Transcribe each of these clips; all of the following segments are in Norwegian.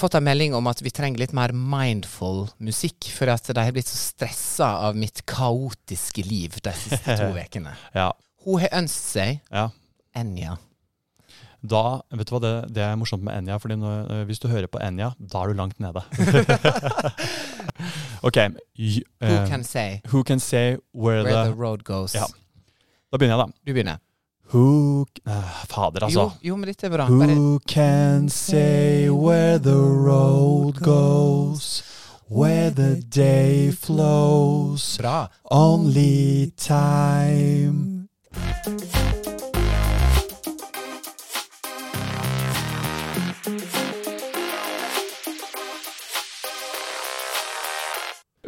fått en melding om at vi trenger litt mer mindful musikk, for at de har blitt så stressa av mitt kaotiske liv de siste to ukene. Ja. Hun har ønsket seg ja. Enja. Da, vet du hva, det, det er morsomt med Enja, fordi når, eh, hvis du hører på Enja, da er du langt nede. ok. y- Who eh, can say who can say where where, the the... road goes? Ja. Da begynner jeg, da. Du begynner. Who c- eh, Fader, altså. Jo, jo, men dette er bra. Bare, Who can say where the road goes, where the day flows, bra. only time.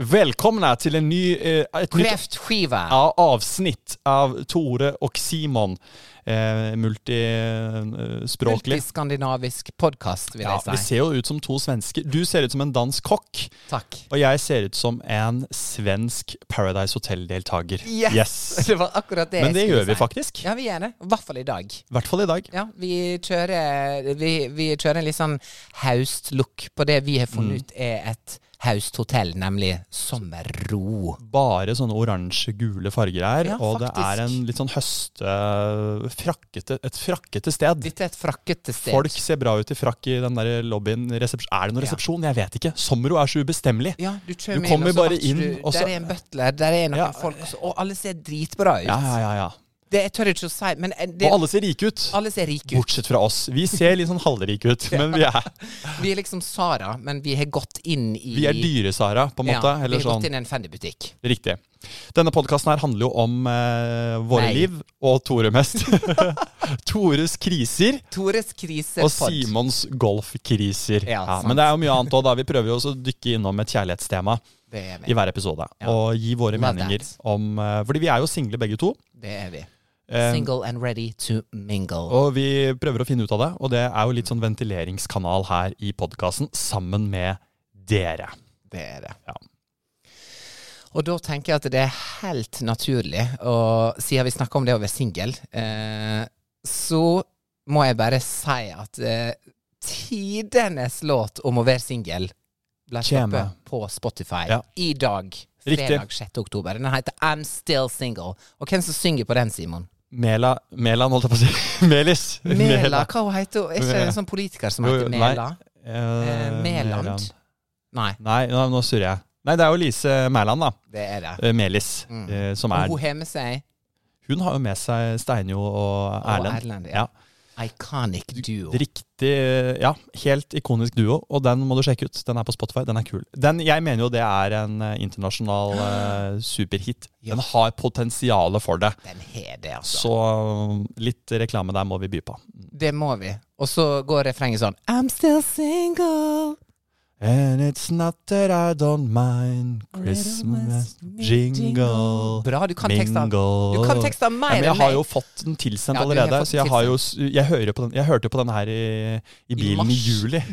Välkomna till en ny, eh, ett nytt Kreftskiva. Ja, avsnitt av Tore och Simon. Eh, multispråklig. Multiskandinavisk podkast, vil Ja, vi jeg si. ser jo ut som to svensker. Du ser ut som en dansk kokk, Takk. og jeg ser ut som en svensk Paradise Hotel-deltaker. Yes! Det var akkurat det Men det jeg skulle gjør vi si. faktisk. Ja, vi gjør det. I hvert fall i dag. I hvert fall i dag. Ja, vi kjører, vi, vi kjører en litt sånn haustlook på det vi har Mm. funnet ut er et hausthotell, nemlig sommerro. Bare sånne oransje-gule farger her, Ja, og det faktisk. er en litt sånn høste... Frakkete, et frakkete sted. Dette er et frakkete sted. Folk ser bra ut i frakk i den der lobbyen. Resepsjon. Er det noen Ja. resepsjon? Jeg vet ikke. Sommero er så ubestemmelig. ja, du, Du kommer inn, kommer og så bare vet ikke inn, du, og så- Der er en butler, der er noen Ja. folk, og, så, og alle ser dritbra ut. Ja, ja, ja. ja. Det, jeg tør ikke å si, men eh, det, Og alle ser rike ut. alle ser rike ut. Bortsett fra oss. Vi ser litt sånn halvrike ut, men vi er, Vi er liksom Sara, men vi har gått inn i vi er dyre-Sara, på en måte. Ja, vi eller har sånn. gått inn i en Fendi-butikk. Riktig. Denne podkasten her handler jo om eh, våre Nei. liv, og Tore mest. Tores kriser Tores krise og Simons golfkriser. Ja, sant. men det er jo mye annet òg, da. Vi prøver jo også å dykke innom et kjærlighetstema Det er i vi. hver episode. Ja. Og gi våre Love meninger that. om eh, Fordi vi er jo single begge to. Det er vi. eh, Single and ready to mingle. og vi prøver å finne ut av det, og det er jo litt sånn ventileringskanal her i podkasten sammen med dere. Det er det. Ja. Og da tenker jeg at det er helt naturlig, og siden vi snakker om det å være singel, eh, så må jeg bare si at eh, tidenes låt om å være singel ble Kjeme. sluppet på Spotify Ja. i dag, Riktig. fredag 6. oktober. Den heter I'm Still Single. Og hvem som synger på den, Simon? Mela Melan, holdt jeg på å si. Melis. Mela, hva hun heter hun? Er ikke det Mela. en sånn politiker som Jo, heter nei. Mela? Eh, Eh, Melan. Meland? Nei, Nei, nå, nå surrer jeg. Nei, det er jo Lise Mæland, da. det er det. Eh, Melis. Mm. Eh, som Og er hun har med seg Hun har jo med seg Steinjo og Erlend. Erlend, ja. ja. Iconic duo. Riktig eh, Ja, helt ikonisk duo, og den må du sjekke ut. Den er på Spotify, den er kul. Den, jeg mener jo det er en eh, internasjonal eh, superhit. Ja. Den har potensialet for det. Den har det, altså. Så um, litt reklame der må vi by på. Det må vi. Og så går refrenget sånn I'm still single. And it's not that I don't mind Christmas jingle Bra. Du kan teksta Mingle. Du kan teksta Nei, mer men jeg enn har jo meg. fått den tilsendt Ja, du har allerede. fått Så jeg, har jo, s- jeg, hører på den, jeg hørte jo på den her i, i bilen i, mars. juli.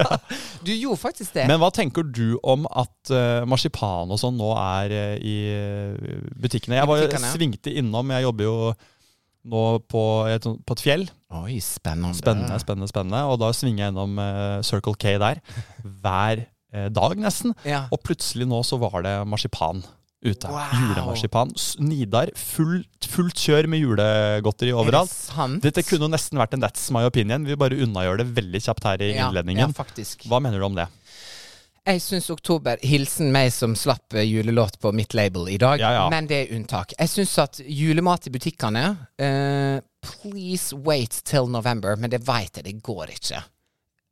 ja. Du gjorde faktisk det. Men hva tenker du om at eh, marsipan og sånn nå er eh, i eh, butikkene? Jeg var, butikkene, ja. svingte innom. Jeg jobber jo nå på et, sånt- på et fjell. Oi, spennende. Spennende, spennende, spennende. Og da svinger jeg innom eh, Circle K der hver eh, dag, nesten. Ja. Og plutselig nå så var det marsipan ute. Wow. Julemarsipan. S- Nidar. Fullt, fullt kjør med julegodteri Er overalt. det sant? Dette kunne jo nesten vært en That's my opinion. Vi bare unnagjør det veldig kjapt her i Ja, innledningen. ja, faktisk. Hva mener du om det? Jeg syns oktober Hilsen meg som slapp eh, julelåt på mitt label i dag, Ja, ja. men det er unntak. Jeg syns at julemat i butikkene eh, Please wait till November, men det veit jeg, det går ikke.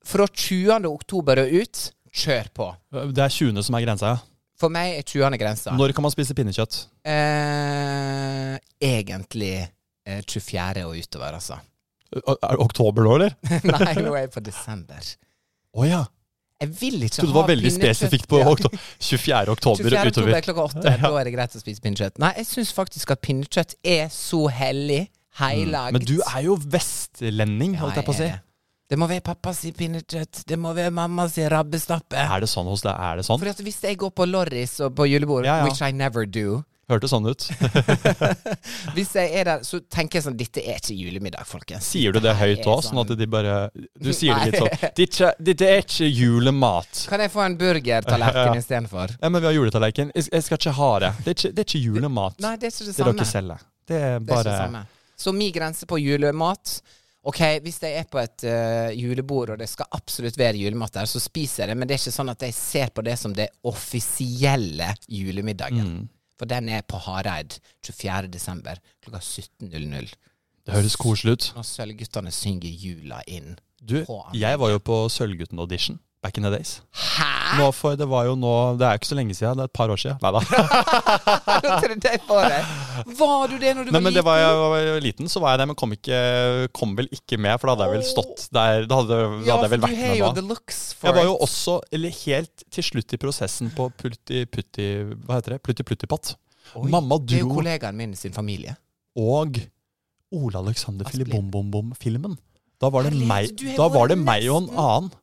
Fra 20. oktober og ut, kjør på. Det er 20. som er grensa. ja. For meg er 20. grensa. Når kan man spise pinnekjøtt? Eh, egentlig eh, 24. og utover, altså. Ø- Er det oktober nå, eller? Nei, nå er jeg på desember. Å ja. Jeg vil ikke Så du var ha veldig pinnekjøtt. spesifikt på Ja. okto- 24. oktober 24. oktober utover. klokka åtte. Da er det greit å spise pinnekjøtt. Nei, jeg syns faktisk at pinnekjøtt er så hellig. Heilag. Mm. Men du er jo vestlending, holdt jeg på å si. Det må være pappa si pinnekjøtt. Det må være mamma si rabbestappe. Er det sånn hos deg? Er det sånn? For at hvis jeg går på Lorris og på julebord, Ja, ja. which I never do Hørtes sånn ut. Hvis jeg er der, så tenker jeg sånn Dette er ikke julemiddag, folkens. Sier du det høyt er òg, sånn at de bare Du sier Nei. det litt sånn Dette dette er ikke julemat. Kan jeg få en burgertallerken istedenfor? Ja, men vi har juletallerken. Jeg jeg skal ikke ha det. Det er ikke, det er ikke julemat. Nei, det er ikke det Det er samme. dere selger. Det er Det er ikke bare det samme. Så min grense på julemat Ok, hvis jeg er på et eh, julebord, og det skal absolutt være julemat der, så spiser jeg det, men det er ikke sånn at jeg ser på det som det offisielle julemiddagen. Mm. For den er på Hareid 24. desember klokka 17.00. Det høres koselig ut. Når Sølvguttene synger jula inn. Du, På jeg var jo på Sølvgutten-audition back in the days. Hæ?! Nå for det var jo nå Det er jo ikke så lenge siden. Det er et par år siden. Nei da. Nå trodde jeg på deg! Var du det når du Nei, var men det liten? var jeg var liten, så var jeg der, men kom, ikke, kom vel ikke med, for da hadde jeg vel stått der. Da hadde, da hadde jeg vel for vært du har med jo da. the looks for Jeg var jo it. også, eller helt til slutt i prosessen på Pulti Putti Hva heter det? Plutti Pluttipatt. Oi, Mamma Det er jo dro kollegaen min sin familie. og Ole Alexander Asplin. Filibom-bom-bom-filmen. Da var det Herlighet, meg, du har da var vært det meg og en nesten- annen.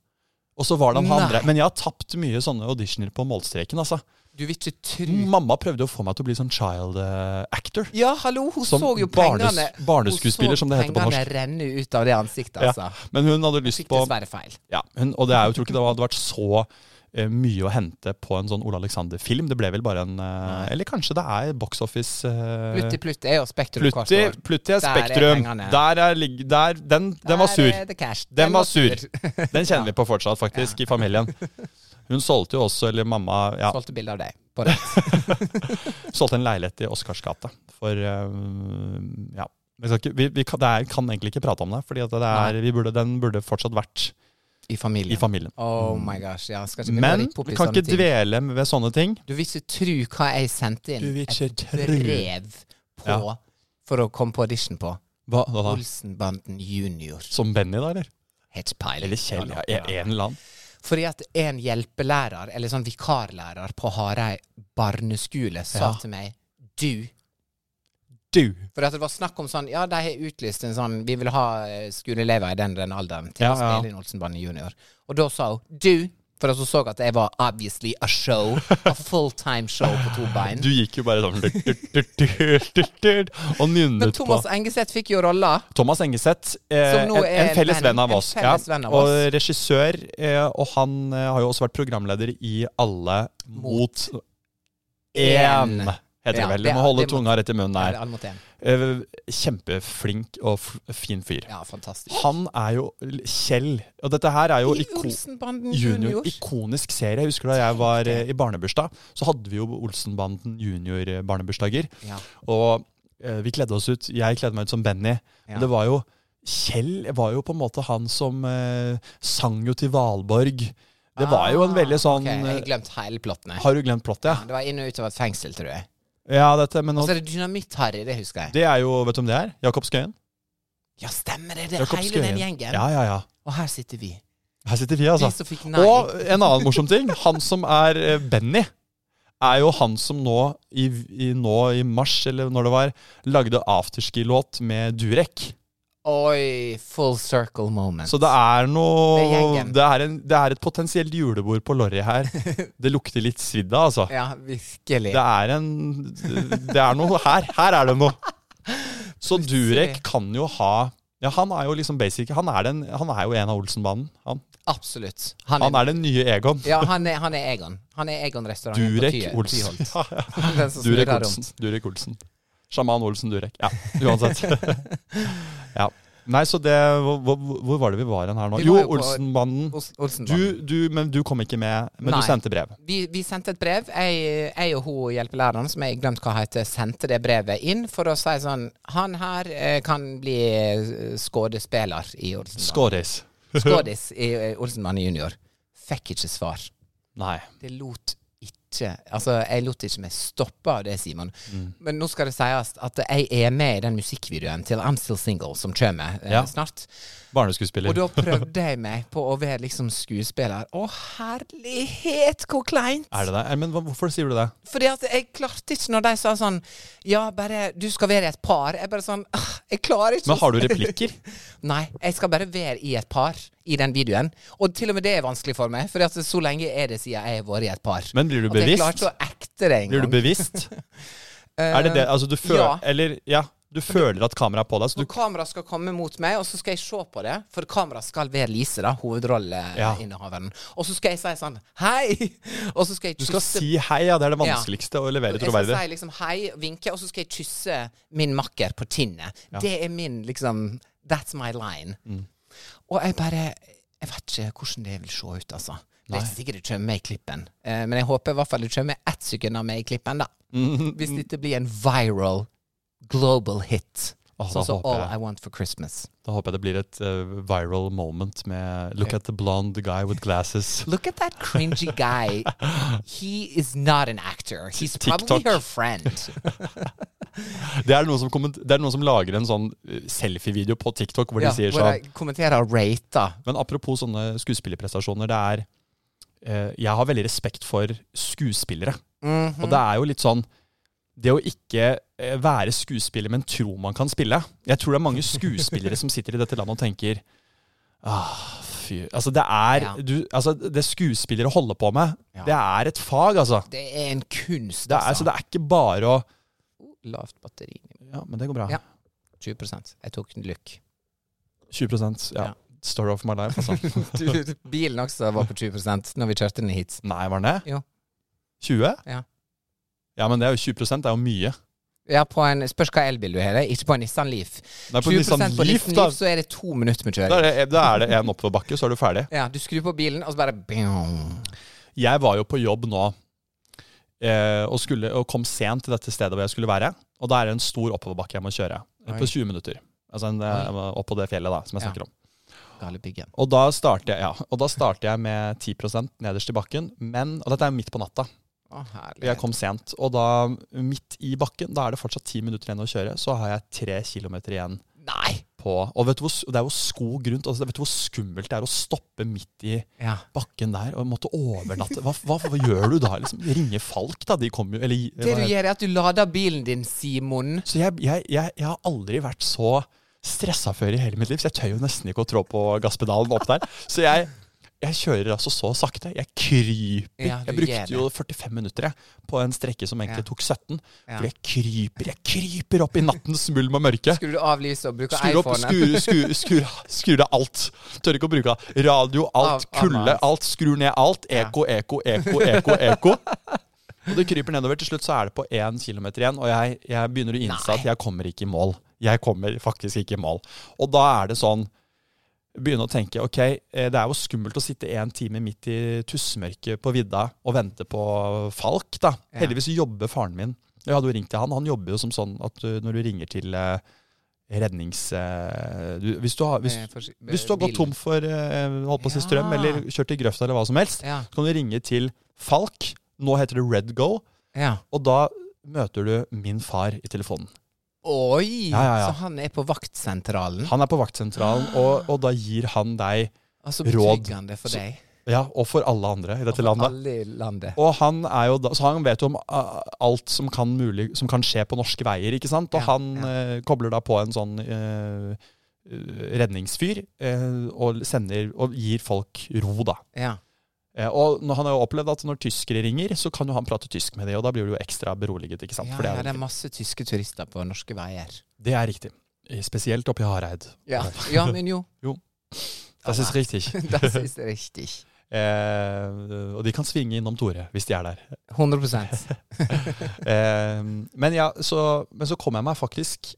Og så var det han Nei. andre. Men jeg har tapt mye sånne auditioner på målstreken, altså. Du vil ikke tru Mamma prøvde å få meg til å bli sånn child eh, actor. Ja, hallo, hun Som så jo barnes- pengene barneskuespiller, hun så som det heter på norsk. Pengene renne ut av det ansiktet, Ja. Eh, altså. Men hun hadde lyst Fikk på dessverre feil. Ja, hun, og det er jo, jeg tror ikke det hadde vært så eh, mye å hente på en sånn Ole Alexander-film. Det ble vel bare en eh, Eller kanskje det er Box Office eh, Plutti Plutti er jo Spektrum hvert Plutti, år. Plutti er Der er Spektrum. pengene. Der er, ligg- der, den, den var sur. Der er det cash. Den var sur. Den kjenner vi på fortsatt, faktisk, i familien. Hun solgte jo også, eller mamma ja, Solgte bilde av deg. På rett. solgte en leilighet i Oscarsgata for eh, Ja. Vi, skal ikke, vi, vi kan, det er, kan egentlig ikke prate om det, for den burde fortsatt vært I familien. i familien. oh my gosh. Ja, skal ikke Men rippe opp vi i kan sånne ikke ting. dvele ved sånne ting. Du vil ikke tru hva jeg sendte inn. Du vil ikke Et tru. brev på Ja. for å komme på audition på. Hva hva da? Olsenbanden junior. Som Benny, da, eller? Hedgepiling. Eller Kjell, ja. En, en eller annen. Fordi at en hjelpelærer, eller sånn vikarlærer på Hareid barneskole, sa Ja. til meg Du. Du! For at det var snakk om sånn Ja, de har utlyst en sånn Vi vil ha eh, skoleelever i den, den alderen til Ja, å ja. spille inn Olsenbanden junior. Og da sa hun Du. For at hun så at jeg var obviously a show. A fulltime show på to bein. Du gikk jo bare sånn du, du, du, du, du, du, og Men nynnet på Thomas Engeseth fikk jo rolla. Thomas Engeseth, eh, Som nå en, er en felles venn- venn av en oss. felles venn av og oss. regissør, eh, og han eh, har jo også vært programleder i Alle mot én, En. heter Ja, det det vel. Du må er- holde det må- tunga rett i munnen Eller her. All mot én. Eh, kjempeflink og f fin fyr. Ja, fantastisk. Han er jo Kjell, og dette her er jo I iko Olsenbanden Junior, junior. ikonisk serie. Jeg husker da jeg var eh, i barnebursdag, så hadde vi jo Olsenbanden junior-barnebursdager. Ja. Og eh, vi kledde oss ut. Jeg kledde meg ut som Benny. Ja. Men det var jo Kjell var jo på en måte han som eh, sang jo til Valborg. Det var jo en veldig sånn Ah, Ok, jeg eh, har glemt hele plottene. Har du glemt plottet, ja? Det var inn og ut av et fengsel, tror jeg. Ja, dette, men Og nå, så er det Dynamitt-Harry, det husker jeg. det er jo Vet du om det er? Jakob Skøyen? Ja, stemmer det! Det er Jakob hele Skøyen. den gjengen. Ja, ja, ja. Og her sitter vi. Her sitter vi, altså. Vi som fikk nei. Og en annen morsom ting. Han som er eh, Benny, er jo han som nå i, i, nå i mars, eller når det var, lagde afterski-låt med Durek. Oi, full circle moment. Så det Det er er noe gjengen. Det er, en, det er et potensielt julebord på Lorry her. Det lukter litt svidd av, altså. Ja, virkelig. Det er en Det er noe her. Her er det noe. Så Durek kan jo ha ja, Han er jo liksom basic. Han er, den, han er jo en av Olsenbanen. Han, Absolutt. Han er, han er den nye Egon. Ja, han er, han er Egon. Han er Egon-restauranten på Durek Ty- Olsen. Tyholt. Ja, ja. Den som Durek snurrer Olsen. rundt. Durek Olsen. Sjaman Olsen Durek. Ja, uansett. ja. Nei, så det hvor, hvor- hvor var det vi var hen her nå? Vi Jo, var jo på- Olsenbanden. Ols- Olsenbanden. Du, du, men du kom ikke med, men Nei. du sendte brev. vi, vi sendte et brev. Jeg, jeg og hun hjelpelæreren, som jeg glemt hva heter, sendte det brevet inn for å si sånn Han her eh, kan bli eh, skådespiller i Olsenmann. Skåris. Skådis i eh, Olsenmann junior. Fikk ikke svar. Nei. Det lot ikke ikke Altså, jeg lot ikke meg stoppe av det, Simon. Mm. Men nå skal det sies at jeg er med i den musikkvideoen til I'm Still Single som kommer eh, Ja. snart. Barneskuespiller. Og da prøvde jeg meg på å være liksom skuespiller. Å, herlighet, hvor kleint! Er det det? Eh, Men hva- hvorfor sier du det? Fordi at jeg klarte ikke når de sa sånn Ja, bare du skal være i et par. Jeg bare sånn «Ah, Jeg klarer ikke. Men har du replikker? Nei, jeg skal bare være i et par i den videoen. Og til og med det er vanskelig for meg, for at så lenge er det siden jeg har vært i et par. Men blir du at jeg bevisst? klarte å ekte det Blir du engang. bevisst? Er det det? Altså, du føler ja. Eller, ja. Du føler at kameraet er på deg, så du Når kameraet skal komme mot meg, og så skal jeg se på det, for kameraet skal være Lise, da, hovedrolleinnehaveren. Og så skal jeg si sånn Hei! Og så skal jeg Du kysse skal si hei, ja. Det er det vanskeligste å levere Jeg skal troverdig. si liksom hei, vinke, og så skal jeg kysse min makker på kinnet. Det er min liksom That's my line. Mm. Og jeg bare Jeg vet ikke hvordan det vil se ut, altså. Det er sikkert det kommer med i klippen. Eh, men jeg håper i hvert fall det kommer ett sekund av meg i klippen, da. Mm. Hvis dette blir en viral global hit. Åh, da sånn som håper All jeg. I Want for Christmas. Da håper jeg det blir et eh, viral moment med Look at the blonde guy with glasses. Look at that cringy guy. He is not an actor. He's TikTok. probably her friend. Det er noen som, komment- det er noen som lager en sånn eh, selfie-video på TikTok hvor Ja, de sier hvor sånn jeg kommenterer og rater. Men apropos sånne skuespillerprestasjoner, det er eh, Jeg har veldig respekt for skuespillere. Mhm. Mm. Og det er jo litt sånn Det å ikke eh, være skuespiller, men tro man kan spille Jeg tror det er mange skuespillere som sitter i dette landet og tenker Ah, fy Altså, det er Ja. du, altså, Det skuespillere holder på med, Ja. det er et fag, altså. Det er en kunst, Det er, altså. Så det er ikke bare å Lavt batteri. Ja, men det går bra. Ja. 20 Jeg tok en lykk. 20 ja. Ja. Story of my life, altså. Bilen også var på 20 når vi kjørte den hit. Nei, var den det? Jo. 20? Ja. Ja, men det er jo 20 det er jo mye. Ja, på en, Spørs hva elbil du har. det. Ikke på en Nissan Leaf. Nei, på 20 Nissan Leaf, da, så er det to minutter med da kjøring. er det, da er det en oppoverbakke, så er du ferdig. Ja, Du skrur på bilen, og så bare bing. Jeg var jo på jobb nå eh, og, skulle, og kom sent til dette stedet hvor jeg skulle være. Og da er det en stor oppoverbakke jeg må kjøre. eh, Oi. På 20 minutter. Altså en, eh, opp på det fjellet da, som jeg Ja. snakker om. Gale byggen. Og da starter jeg, ja, og da starter jeg med 10 nederst i bakken. Men, og dette er midt på natta. Å, herlig. Jeg kom sent, og da midt i bakken, da er det fortsatt ti minutter igjen å kjøre, så har jeg tre kilometer igjen Nei! på Og vet du hvor, s- det er jo skog rundt, altså, vet du hvor skummelt det er å stoppe midt i Ja. bakken der og måtte overnatte? Hva, hva, hva gjør du da? Liksom, ringe Falk, da. De kommer jo Eller Det hva du heter- gjør, er at du lader bilen din, Simon. Så jeg, jeg, jeg, jeg har aldri vært så stressa før i hele mitt liv, så jeg tør jo nesten ikke å trå på gasspedalen opp der. Så jeg, jeg kjører altså så sakte. Jeg kryper. Ja, du gjør jeg det. brukte jo 45 minutter jeg, på en strekke som egentlig Ja. tok 17. Ja. For jeg kryper jeg kryper opp i nattens mulm og mørke. Skrur du av lyset og bruker Skrur opp, iPhonen. skrur, skrur, skrur, skrur av alt. Tør ikke å bruke av. Radio, alt, Av- av kulde, alt. alt. Skrur ned alt. Eko, eko, eko, eko, eko. Og det kryper nedover. Til slutt så er det på én kilometer igjen, og jeg, jeg begynner å innse at jeg kommer ikke i mål. Jeg kommer faktisk ikke i mål. Og da er det sånn Begynne å tenke ok, eh, det er jo skummelt å sitte en time midt i tussmørket på vidda og vente på Falk, da. Ja. Heldigvis jobber faren min. Jeg hadde jo ringt til han. Han jobber jo som sånn at du, når du ringer til eh, rednings... eh, du, hvis, du har, hvis, Eh, forsy- hvis du har gått bilen. tom for eh, holdt på å si strøm, Ja. eller kjørt i grøfta, eller hva som helst, Ja. så kan du ringe til Falk. Nå heter det Red Go, ja. og da møter du min far i telefonen. Oi! Ja, ja, ja. Så han er på vaktsentralen. Han er på vaktsentralen, og, og da gir han deg, Altså Råd. betryggende for Så- deg. ja, og for alle andre i dette landet Alle i landet. Og han er jo da, så han vet jo om ah, alt som kan, mulig, som kan skje på norske veier, ikke sant? Og Ja, han ja. eh, kobler da på en sånn eh, eh, redningsfyr eh, og sender og gir folk ro, da. Ja. Eh, og når, han har jo opplevd at når tyskere ringer, så kan jo han prate tysk med dem, og da blir du jo ekstra beroliget, ikke sant? Ja, For det ja, er, det er jo masse tyske turister på norske veier. riktig. det er riktig. Eh, Spesielt oppe i Hareid. Ja, men jo. Det synes riktig. Det synes jeg er riktig. Eh, og de kan svinge innom Tore hvis de er der. 100 Eh, men, ja, så, men så kom jeg meg faktisk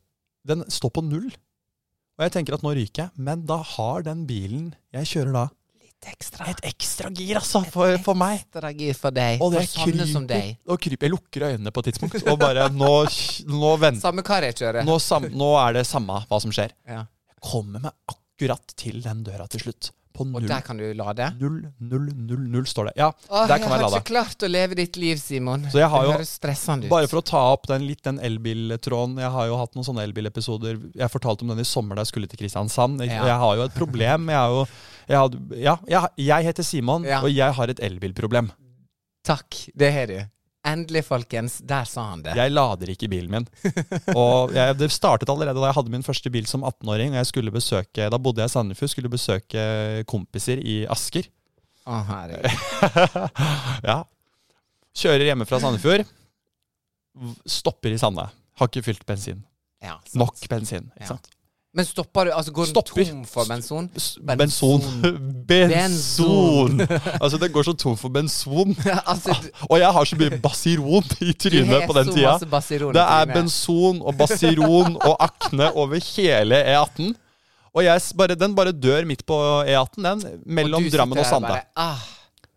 Den står på null. Og jeg tenker at nå ryker jeg, men da har den bilen jeg kjører da, Litt ekstra. et ekstra gir, altså, for, for meg. Ekstra gir for deg. Og det For sånne som kryper, deg. og kryper. Jeg lukker øynene på et tidspunkt og bare Nå, nå venter Samme hva jeg kjører. nå, sam, nå er det samme hva som skjer. Ja. Jeg kommer meg akkurat til den døra til slutt. På Og 0, der kan du lade. 0, 0, 0, 0 står det. Ja, Åh, der jeg kan jeg har lade. ikke klart å leve ditt liv, Simon. Så jeg har jo- det høres stressende ut. Bare for å ta opp den litt den elbiltråden. Jeg har jo hatt noen sånne elbilepisoder. Jeg fortalte om den i sommer da jeg skulle til Kristiansand. Jeg, Ja. jeg har jo et problem. Jeg, er jo, jeg, hadde, ja, jeg, jeg heter Simon, Ja. og jeg har et elbilproblem. Takk, det har du. Endelig, folkens. Der sa han det. Jeg lader ikke bilen min. Og jeg, Det startet allerede da jeg hadde min første bil som 18-åring. og jeg skulle besøke, Da bodde jeg i Sandefjord, skulle besøke kompiser i Asker. Å, herregud. ja. Kjører hjemme fra Sandefjord. v- Stopper i Sande. Har ikke fylt bensin. Ja, sant. Nok bensin. ikke Ja. sant? Men stopper du? Altså, går du Stopper. tom for benson? S- Benson. Benson. Benson. Benson! altså, det går så tom for benson. altså, du- Og jeg har så mye basiron i du trynet har på den så tida. masse baseron i Det er trynet. benson og basiron og akne over hele E18. Og jeg s- bare, den bare dør midt på E18, den. Og Mellom du Drammen og sitter Sande. her bare, ah,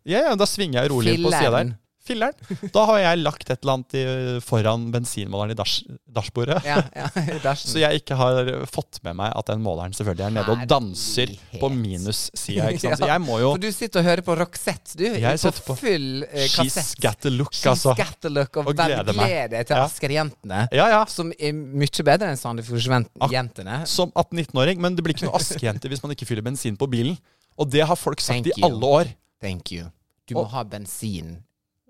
Ja, ja, da svinger jeg rolig på sida der. Filler'n. Da har jeg lagt et eller annet i, foran bensinmåleren i dash, dashbordet. ja, ja, i dashen. Så jeg ikke har fått med meg at den måleren selvfølgelig er nede og danser på minussida. ikke sant? Så jeg må jo For du sitter og hører på Roxette, du. Jeg sitter på på full eh, She's kassett. got the look, She's altså. got the look, og Og hvem gleder meg. gleder deg til Ja. Asker-jentene? Ja, ja. Som er mye bedre enn Ah. Sandefjordsjentene. Som 18-19-åring, men det blir ikke noe askejente hvis man ikke fyller bensin på bilen. Og det har folk sagt Thank i alle år. Thank you. Du må Og- ha bensin,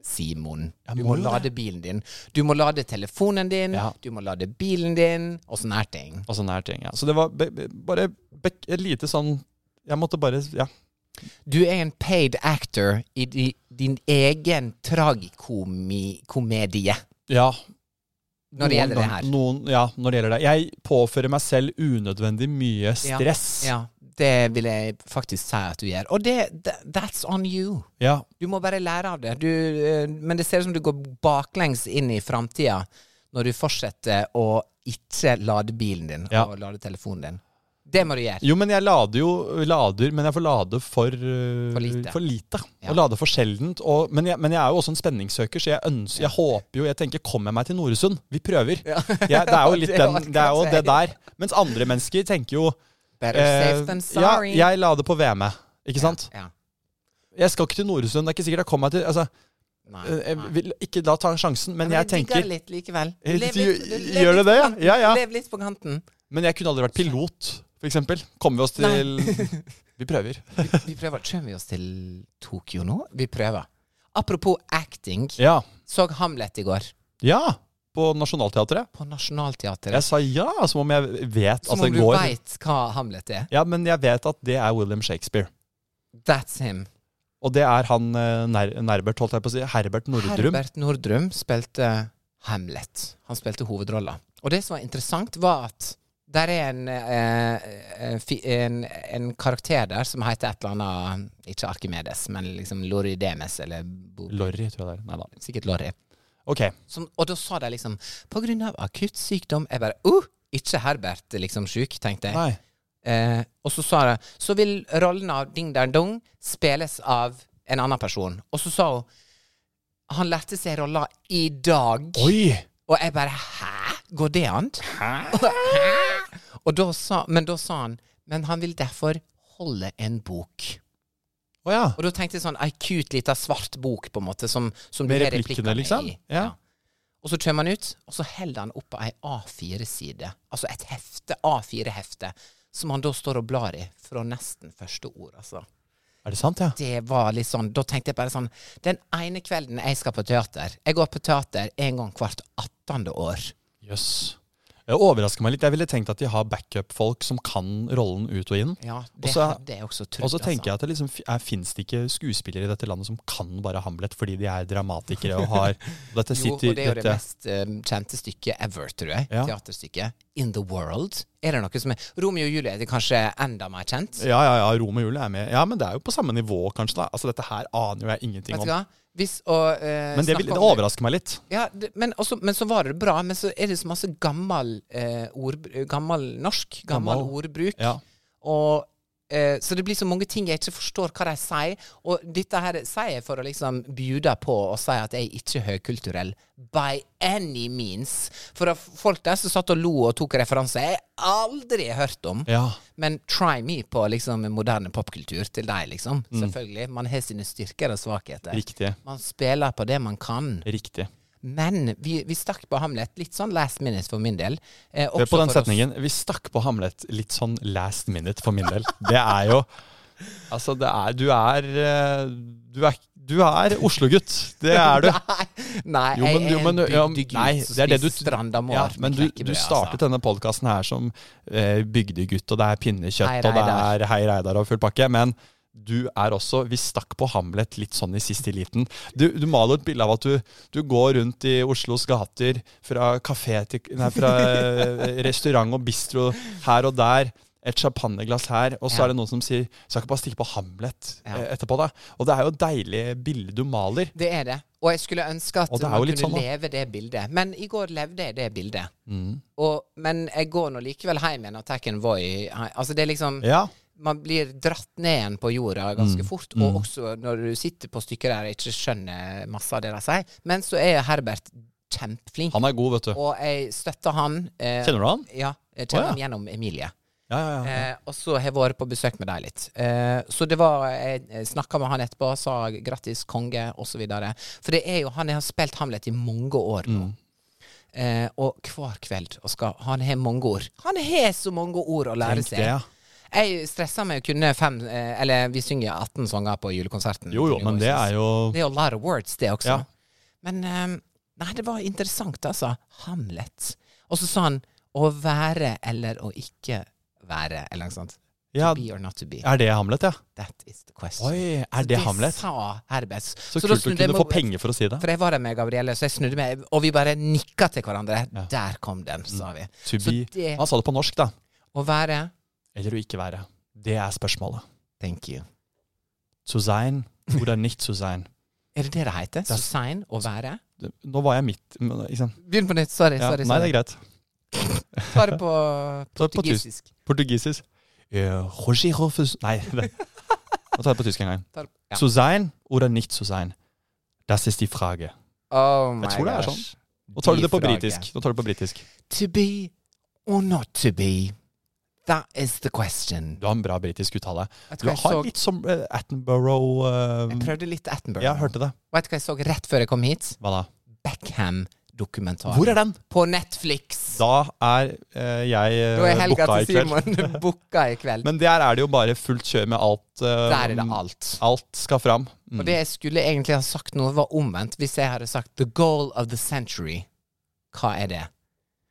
Simon. Jeg Du må må jo det. lade bilen din. Du må lade telefonen din, Ja. du må lade bilen din, og sånne her ting. Og sånne her Altså, ting, ja. Så det var be be bare be et lite sånn Jeg måtte bare Ja. Du er en paid actor i di, din egen tragikomedie. ja. Når det gjelder det her. Noen, ja, når det gjelder det. Jeg påfører meg selv unødvendig mye stress. Ja, det vil jeg faktisk si at du gjør. Og det, th- that's on you. ja. Du må bare lære av det. Du, eh, men det ser ut som du går baklengs inn i framtida når du fortsetter å ikke lade bilen din Ja. og lade telefonen din. Det må du gjøre. Jo, men jeg lader jo lader, men jeg får lade for øh, For lite. For lite. Ja. Og lade for sjeldent. Og, men, jeg, men jeg er jo også en spenningssøker, så jeg, ønsker, jeg håper jo Jeg tenker kommer jeg meg til Noresund? Vi prøver. Jeg, det er jo litt Det var den, det er jo akkurat det det. der. Mens andre mennesker tenker jo Better eh, safe than Ja, sorry. jeg lader på VM, ikke sant? Ja. Jeg skal ikke til Noresund. Det er ikke sikkert jeg kommer meg til altså, Nei, eh, Jeg nei. vil ikke da ta sjansen, men jeg digger tenker litt likevel. Eh, Lev du- litt- du lev gjør litt du på det, ja? kanten. Ja, ja. Lev litt på kanten. Men jeg kunne aldri vært pilot, for eksempel. Kommer vi oss til Vi prøver. Vi prøver. Kommer vi oss til Tokyo nå? Vi prøver. Apropos acting. Ja. Så Hamlet i går. ja. På Nationaltheatret. På Nationaltheatret. Jeg sa ja, som om jeg vet Som om at det du går. veit hva Hamlet er. Ja, men jeg vet at det er William Shakespeare. That's him. Og det er han eh, Ner Nerbert, holdt jeg på å si. Herbert Nordrum. Herbert Nordrum spilte Hamlet. Han spilte hovedrolla. Og det som var interessant, var at der er en, eh, eh, fi- en, en karakter der som heter et eller annet Ikke Arkimedes, men liksom Loridemes, eller Bo- Lorry, tror jeg det er. Nei da. sikkert Lorry. Ok. Som, og da sa de liksom På grunn av akutt sykdom Jeg bare Uh! Ikke Herbert liksom sjuk, tenkte jeg. Nei. Eh, og så sa de Så vil rollen av Ding Dang Dong spilles av en annen person. Og så sa hun Han lærte seg rolla i dag. Oi! Og jeg bare Hæ? Går det an? Hæ? Og da sa, men da sa han Men han vil derfor holde en bok. Å ja. Og da tenkte jeg sånn Ei cute lita svart bok, på en måte, som, som du Med har replikkene, liksom? i. Ja. Og så kommer han ut, og så holder han opp ei A4-side. Altså et hefte, A4-hefte, som han da står og blar i fra nesten første ord, altså. Er det sant, ja? Det var litt sånn Da tenkte jeg bare sånn Den ene kvelden jeg skal på teater Jeg går på teater en gang hvert 18. år. Jøss. Det overrasker meg litt. Jeg ville tenkt at de har backup-folk som kan rollen ut og inn. Ja, det Og så- hadde jeg også trodd. Og så tenker jeg at det liksom fi- er- finnes det ikke skuespillere i dette landet som kan bare Hamlet fordi de er dramatikere og har og Dette jo, sitter og det er jo det dette- mest eh, kjente stykket ever, tror jeg. Ja. Teaterstykket. In the World. Er det noe som er Romeo og Julie er det kanskje enda mer kjent? Ja, ja, ja. Rom og Julie er med. Ja, men det er jo på samme nivå, kanskje. da. Altså, Dette her aner jo jeg ingenting Vet om. du hva? Hvis å eh, Men det, snakke vil, det om- overrasker meg litt. Ja, det, men, også, men så var det bra. Men så er det så masse gammel, eh, ord, gammel norsk, gammel, Gammel. ordbruk. Ja. Og eh, så det blir så mange ting jeg ikke forstår hva de sier. Og dette her sier jeg for å liksom bjude på og si at jeg ikke er høykulturell. By any means. For av folk der som satt og lo og tok referanser jeg aldri har hørt om. Ja. Men try me på liksom moderne popkultur til deg, liksom. Selvfølgelig. Man har sine styrker og svakheter. Mm. Riktig. Man spiller på det man kan. Riktig. Men vi, vi stakk på Hamlet litt sånn last minute for min del. Eh, Hør også på for den oss- setningen. Vi stakk på Hamlet litt sånn last minute for min del. Det er jo Altså, det er Du er eh, Du er, du er Oslo-gutt. Det er du. Nei, nei Jo, jeg men, jo, er en men, ja, bygdegutt nei, som det er det du spiser strandamår ja, med Men du, knekkebrød, du startet altså. denne podkasten her som eh, bygdegutt, og det er pinnekjøtt, Hei, og det Reidar. er Hei Reidar og full pakke. Men du er også Vi stakk på Hamlet litt sånn i siste liten. Du, du maler et bilde av at du, du går rundt i Oslos gater fra kafé til Nei, fra eh, restaurant og bistro her og der. Et champagneglass her, og så Ja. er det noen som sier Skal ikke bare stikke på Hamlet Ja. eh, etterpå, da? Og det er jo et deilig bilde du maler. Det er det. Og jeg skulle ønske at Og det er man jo kunne litt sånn, da. Mm. leve det bildet. Men i går levde jeg det bildet. Og, men jeg går nå likevel hjem igjen og tar en Voi. Altså, det er liksom Ja. Mm. man blir dratt ned igjen på jorda ganske fort. Og også når du sitter på stykker der jeg ikke skjønner masse av det de sier. Men så er Herbert kjempeflink, Han er god, vet du. og jeg støtter han. Eh, Kjenner du han? Ja, jeg kjenner Å, ja. han gjennom Emilie. Ja, ja, ja. Eh, og så har jeg vært på besøk med deg litt. Eh, så det var Jeg snakka med han etterpå, sa grattis, konge, osv. For det er jo han jeg har spilt Hamlet i mange år nå. Mm. Eh, og hver kveld og skal, Han har mange ord. Han har så mange ord å lære Tenk seg. det, ja. Jeg stressa med å kunne fem eh, Eller vi synger 18 sanger på julekonserten. Jo, jo, men det er jo Det er jo a lot of words, det også. Ja. Men eh, Nei, det var interessant, altså. Hamlet. Og så sa han 'å være eller å ikke være', eller noe sånt. ja, To be or not to be. Er det Hamlet, ja? That is the question. Oi, Så er det Hamlet? sa Herbert. Så, da kult å snudde jeg kunne meg få over- penger for å si det. For jeg var der med Gabrielle, så jeg snudde meg, og vi bare nikka til hverandre. Ja. Mm. Der kom den, sa vi. To Så be det Han sa det på norsk, da. Å være Eller å ikke være. Det er spørsmålet. Thank you. To sein oder nicht zu sein. Er det det det heter? Das- Susanne? Å være? Det- Nå var jeg midt men, ikke sant? Begynn på nytt. Sorry. Ja, sorry, Nei, det sorry. er greit. Ta det på Ta det på portugisisk. Portugisisk. Eh, Roger Hoffes- Nei, det Nå tar jeg det på tysk en gang. Ta det- Ja. To sein oder nicht zu sein. Das ist die Frage. Oh my Jeg tror det er gosh. sånn. Nå tar du Die det på Frage. britisk. Nå tar du det på britisk. To be or not to be. That is the question. Du har en bra britisk uttale. Vet du Du hva jeg, så, har litt som eh, Attenborough eh, jeg prøvde litt Attenborough. Ja, hørte det. Vet du hva jeg så rett før jeg kom hit? Hva da? Beckham-dokumentar. Hvor er den? På Netflix. Da er eh, jeg Da er eh, helga booka i til kveld. Simon booka i kveld. Men der er det jo bare fullt kjør med alt. eh, Der er det alt. Alt skal fram. Mm. Og det jeg skulle egentlig ha sagt nå, var omvendt. Hvis jeg hadde sagt 'The goal of the century', hva er det?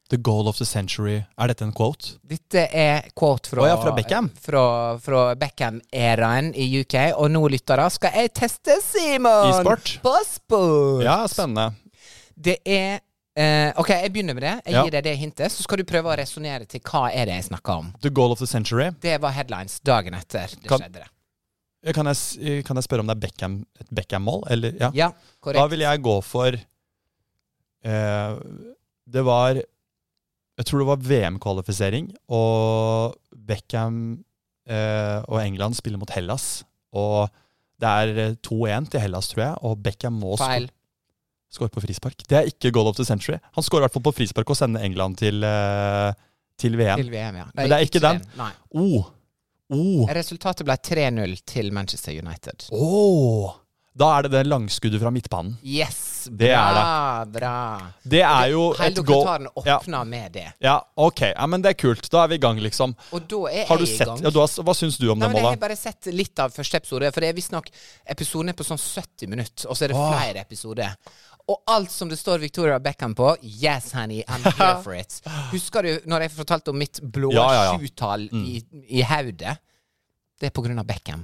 The goal of the century. Er dette en quote? Dette er quote fra, Å ja, fra Beckham? Fra, fra Beckham-æraen i UK. Og nå, lyttere, skal jeg teste Simon! I sport? På sport! Ja, spennende. Det er eh, OK, jeg begynner med det. Jeg Ja. gir deg det hintet. Så skal du prøve å resonnere til hva er det jeg snakker om. The goal of the century. Det var headlines dagen etter det Kan- skjedde. det. Eh, Kan jeg, s- eh, kan jeg spørre om det er Beckham, et Beckham-mål? Eller, ja. Ja, Da korrekt. vil jeg gå for eh, Det var Jeg tror det var VM-kvalifisering, og Beckham eh, og England spiller mot Hellas. Og det er eh, 2-1 til Hellas, tror jeg, og Beckham må skåre. Feil. Skår på frispark. Det er ikke goal of the century. Han skårer i hvert fall på frispark og sender England til, eh, til VM. Til VM, ja. Nei, Men det er ikke den. Nei. Oh. Oh. Resultatet ble 3-0 til Manchester United. Oh. Da er det det langskuddet fra midtbanen. Yes! Bra, Det er bra. Det er jo Hele et goal dokumentaren ja, åpna med det. ja, ok. Ja, men det er kult. Da er vi i gang, liksom. Og da er Har du jeg i sett gang. ja, du har, Hva syns du om Nei, det men jeg har målet? bare sett litt av første episode, for det er visstnok episoden er på sånn 70 minutter, og så er det Åh. flere episoder. Og alt som det står Victoria Beckham på Yes, honey, I'm here for it. Husker du når jeg fortalte om mitt blå Ja, ja, Mm. ja. sjutall i, i hodet? Det er på grunn av Beckham.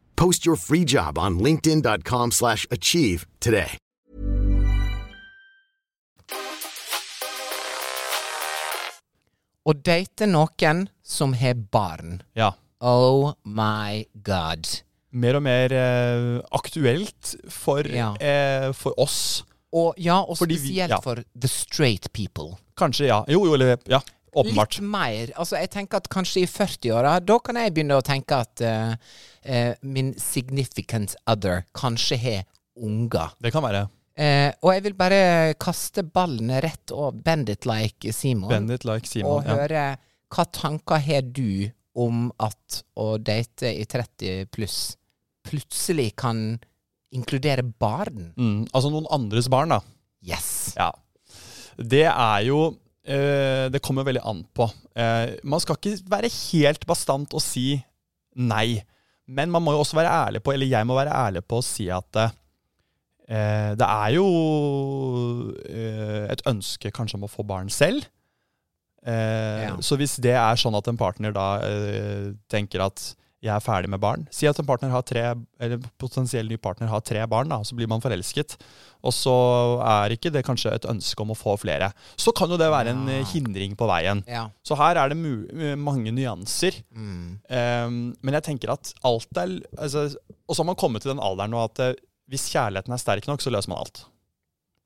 Post your free job on linkedin.com/achieve slash achieve today. Å date noen som har barn. Ja. Oh my god. Mer og mer eh, aktuelt for, Ja. eh, for oss. Og ja, og Fordi vi- spesielt ja. for the straight people. Kanskje, ja. Jo, jo, eller Ja, åpenbart. Litt mer. Altså, jeg tenker at kanskje i 40-åra, da kan jeg begynne å tenke at eh, eh, min significant other kanskje har unger. Det kan være. Eh, og jeg vil bare kaste ballen rett og bend it like Simon, Bend it like Simon. og Ja. høre hva tanker har du om at å date i 30 pluss plutselig kan inkludere barn? Mm, altså noen andres barn, da. Yes. Ja. Det er jo eh, Det kommer veldig an på. Eh, man skal ikke være helt bastant og si nei. Men man må jo også være ærlig på, eller jeg må være ærlig på å si at eh, det er jo eh, et ønske kanskje om å få barn selv. Eh, Ja. Så hvis det er sånn at en partner da eh, tenker at jeg er ferdig med barn. Si at en partner har tre, eller en potensiell ny partner har tre barn, da, og så blir man forelsket. Og så er ikke det kanskje et ønske om å få flere. Så kan jo det være en eh, hindring på veien. Ja. Så her er det mu eh, mange nyanser. Ehm, men jeg tenker at alt er altså, Og så har man kommet til den alderen nå at eh, hvis kjærligheten er sterk nok, så løser man alt.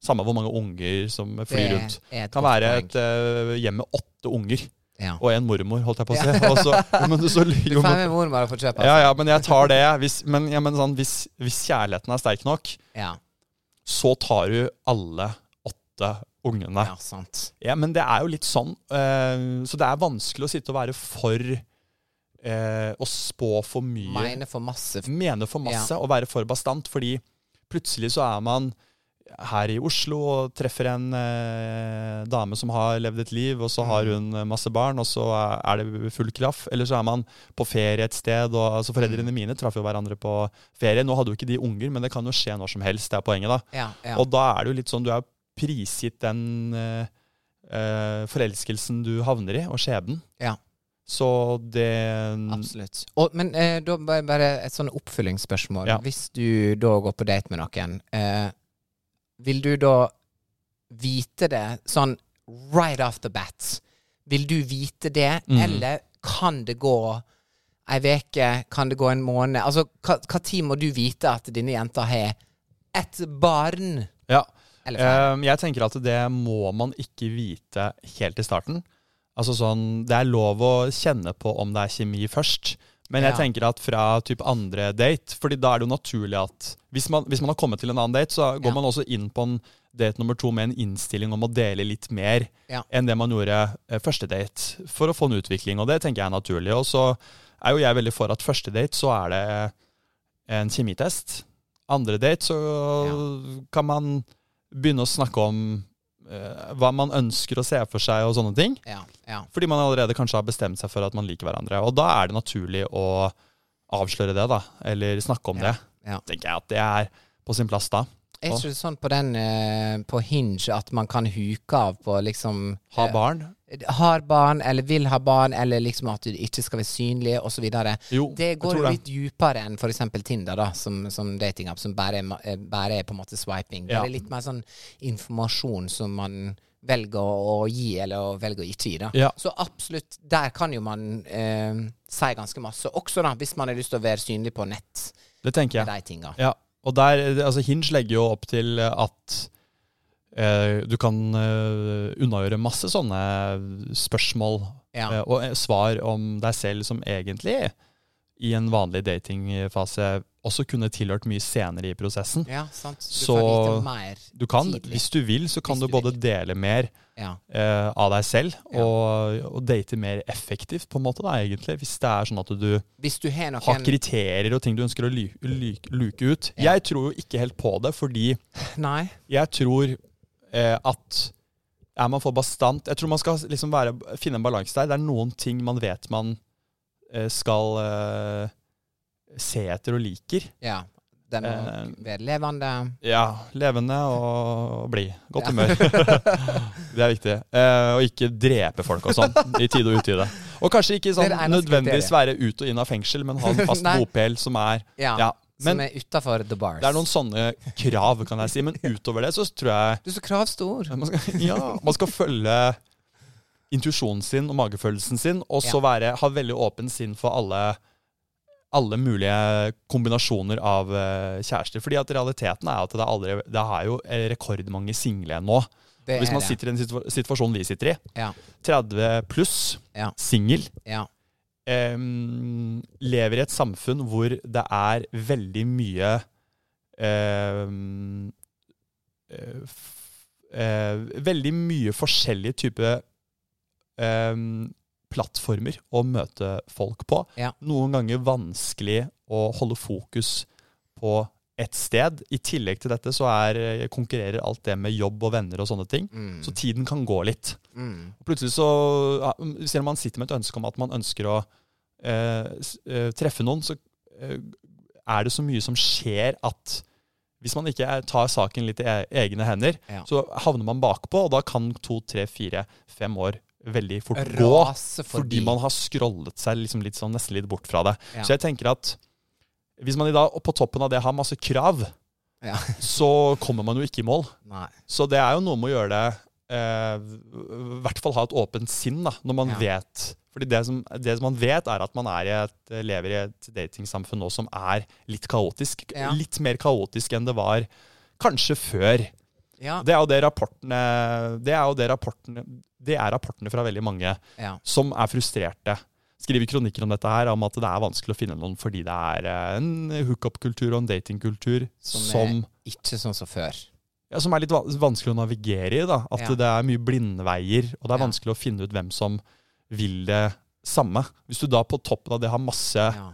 Samme hvor mange unger som flyr Det rundt. er et kan godt være poeng. et eh, hjem med åtte unger ja. og en mormor, holdt jeg på å si. Og så, men så, Du jo, får men, med mormor og får kjøpe. ja, ja, men jeg tar det. Hvis, men ja, men sånn, hvis, hvis kjærligheten er sterk nok, Ja. så tar du alle åtte ungene. ja, Ja, sant. Men det er jo litt sånn. eh, så det er vanskelig å sitte og være for eh, Å spå for mye. Mine for masse. Mene for masse og være for bastant, fordi plutselig så er man her i Oslo og treffer en eh, dame som har levd et liv, og så har hun eh, masse barn, og så er det full kraff. Eller så er man på ferie et sted, og altså foreldrene mine traff jo hverandre på ferie. Nå hadde jo ikke de unger, men det kan jo skje når som helst, det er poenget da. Ja, ja. Og da er det jo litt sånn, du er prisgitt den eh, eh, forelskelsen du havner i, og skjebnen. ja. Så det Absolutt. Og, men eh, da bare, bare et sånn oppfølgingsspørsmål. Ja. Hvis du da går på date med noen, eh, vil du da vite det sånn right off the bat? Vil du vite det, eller kan det gå ei veke, kan det gå en måned? Altså, hva, hva tid må du vite at denne jenta har et barn? Ja. Eller flere. Ehm, jeg tenker at det må man ikke vite helt i starten. Altså sånn, Det er lov å kjenne på om det er kjemi først. Men jeg Ja. tenker at fra typ andre date fordi da er det jo naturlig at hvis man, hvis man har kommet til en annen date, så går Ja. man også inn på en date nummer to med en innstilling om å dele litt mer Ja. enn det man gjorde eh, første date, for å få en utvikling. Og det tenker jeg er naturlig. Og så er jo jeg veldig for at første date så er det en kjemitest. Andre date så kan man begynne å snakke om eh, hva man ønsker å se for seg og sånne ting. Ja, ja. Fordi man allerede kanskje har bestemt seg for at man liker hverandre. Og da er det naturlig å avsløre det, da. Eller snakke om det. ja. Tenker jeg at det er på sin plass da. Er ikke det sånn på den eh, på Hinge at man kan huke av på liksom Ha eh, barn. har barn, eller vil ha barn, eller liksom at du ikke skal være synlig, osv. Jo, Det jeg går tror jo det. litt dypere enn f.eks. Tinder, da, som, som datingapp, som bare er, ma- eh, bare er på en måte swiping. Ja. Det er litt mer sånn informasjon som man velger å å gi, eller å velger å ikke gi. da. Ja. Så absolutt, der kan jo man eh, si ganske masse, også da, hvis man har lyst til å være synlig på nett Det tenker med jeg. de tinga. Ja, og der, altså Hinge legger jo opp til at eh, du kan eh, unnagjøre masse sånne spørsmål Ja. eh, og eh, svar om deg selv som egentlig i en vanlig datingfase også kunne tilhørt mye senere i prosessen. Ja, sant. Du Så- får vite mer Du kan, tidlig. Hvis du vil, så kan Hvis du du både vil. dele mer ja. eh, av deg selv og, og date mer effektivt, på en måte, da, egentlig. Hvis det er sånn at du Hvis du har noen har kriterier og ting du ønsker å lu- lu- luke ut. Ja. Jeg tror jo ikke helt på det, fordi Nei. jeg tror eh, at er man for bastant Jeg tror man skal liksom være, finne en balanse der. Det er noen ting man vet man eh, skal eh, se etter og liker. Ja. Den må Eh, være levende. Ja, levende og blid. Godt humør. det er viktig. Eh, og ikke drepe folk og sånn, i tide og utide. Og kanskje ikke Det sånn er det eneste nødvendigvis være ut og inn av fengsel, men ha en fast Nei. bopel som er Ja. ja. som er utafor the bars. Det er noen sånne krav, kan jeg si. Men utover det så tror jeg Du er så kravstor. Eh, man skal, ja, man skal følge intuisjonen sin og magefølelsen sin, og så Ja. være, ha veldig åpen sinn for alle, alle mulige kombinasjoner av eh, kjærester. Fordi at realiteten er at det er, aldri, det er jo eh, rekordmange single nå. Det Hvis er man det. sitter i den situa- situasjonen vi sitter i, Ja. 30 pluss, Ja. singel, ja. em, lever i et samfunn hvor det er veldig mye em, eh, f- eh, Veldig mye forskjellige typer plattformer å møte folk på. Ja. Noen ganger vanskelig å holde fokus på ett sted. I tillegg til dette så er, konkurrerer alt det med jobb og venner og sånne ting. Mm. Så tiden kan gå litt. Mm. Og Plutselig så, ja, selv om man sitter med et ønske om at man ønsker å eh, s- eh, treffe noen, så eh, er det så mye som skjer at hvis man ikke er, tar saken litt i e- egne hender, Ja. så havner man bakpå, og da kan to, tre, fire, fem år veldig fort gå. Rase Fordi man har scrollet seg liksom litt sånn, nesten litt bort fra det. Ja. Så jeg tenker at hvis man i dag, og på toppen av det, har masse krav, Ja. så kommer man jo ikke i mål. Nei. Så det er jo noe med å gjøre det eh, I hvert fall ha et åpent sinn da, når man Ja. vet. Fordi det som, det som man vet, er at man er i et, eh, lever i et datingsamfunn nå som er litt kaotisk. Ja. Litt mer kaotisk enn det var kanskje før. Ja. Det er jo det rapportene Det er jo det rapportene Det er rapportene fra veldig mange ja. som er frustrerte. Skriver kronikker om dette her, om at det er vanskelig å finne noen fordi det er eh, en hookup-kultur og en datingkultur Som, som er ikke sånn som før. ja, som er litt van- vanskelig å navigere i. da, At Ja. det er mye blindveier, og det er Ja. vanskelig å finne ut hvem som vil det samme. Hvis du da på toppen av det har masse Ja.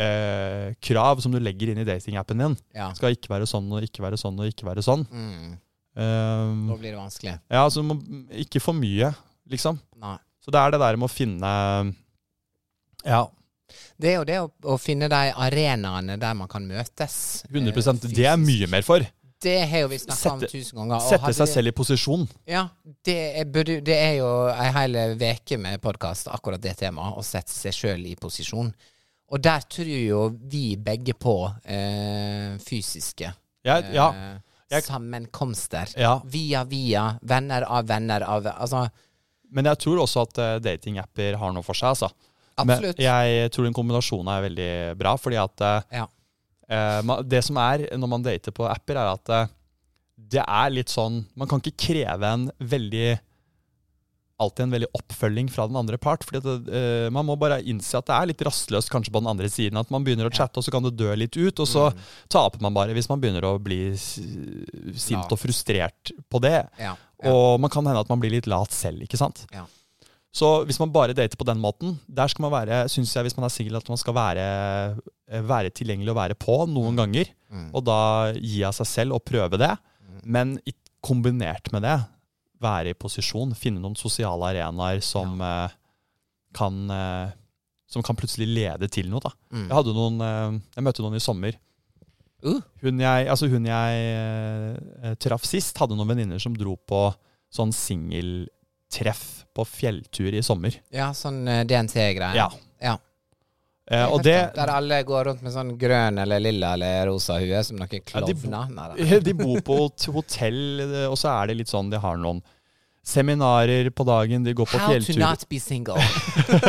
eh, krav som du legger inn i datingappen din ja. Skal ikke være sånn og ikke være sånn og ikke være sånn. Mm. Eh, Nå blir det vanskelig. ja, altså må, ikke for mye, liksom. Nei. Så det er det der med å finne Ja, Det er jo det å, å finne de arenaene der man kan møtes. eh, 100 Det er mye mer for. Det har jo vi snakka om Sette- tusen ganger. og Sette hadde seg vi- selv i posisjon. Ja, det er, burde, det er jo ei hel veke med podkast akkurat det temaet, å sette seg sjøl i posisjon. Og der tror jo vi begge på eh, fysiske Jeg, eh, ja, Jeg- sammenkomster. Ja. Via via, venner av venner av Altså, Men jeg tror også at eh, datingapper har noe for seg. altså. absolutt. Men jeg tror en kombinasjon er veldig bra, fordi at Ja. eh, ma- det som er når man dater på apper, er at eh, det er litt sånn Man kan ikke kreve en veldig alltid en veldig oppfølging fra den andre part. fordi at, eh, Man må bare innse at det er litt rastløst kanskje på den andre siden. At man begynner å chatte, og så kan det dø litt ut. Og så taper man bare hvis man begynner å bli s- sint Lat. og frustrert på det. Ja, ja. Og man kan hende at man blir litt lat selv, ikke sant. Ja. Så hvis man bare dater på den måten, der skal man være, synes jeg, hvis man er singel, at man skal være, eh, være tilgjengelig og være på Mm. noen ganger. Og da gi av seg selv og prøve det. Mm. Men i, kombinert med det, være i posisjon, finne noen sosiale arenaer som eh, kan eh, som kan plutselig lede til noe. da. Mm. Jeg, hadde noen, eh, jeg møtte noen i sommer. Uh. Hun jeg, altså hun jeg eh, traff sist, hadde noen venninner som dro på sånn singeltreff på fjelltur i sommer. ja, sånn DNT-greie. Ja. ja. Eh, og det, Der alle går rundt med sånn grønn eller lilla eller rosa hue som noen Ja, de bo- klovner. Nei, da. de bor på et hotell, eh, og så er det litt sånn De har noen seminarer på dagen, de går på How to fjellturer. not be single.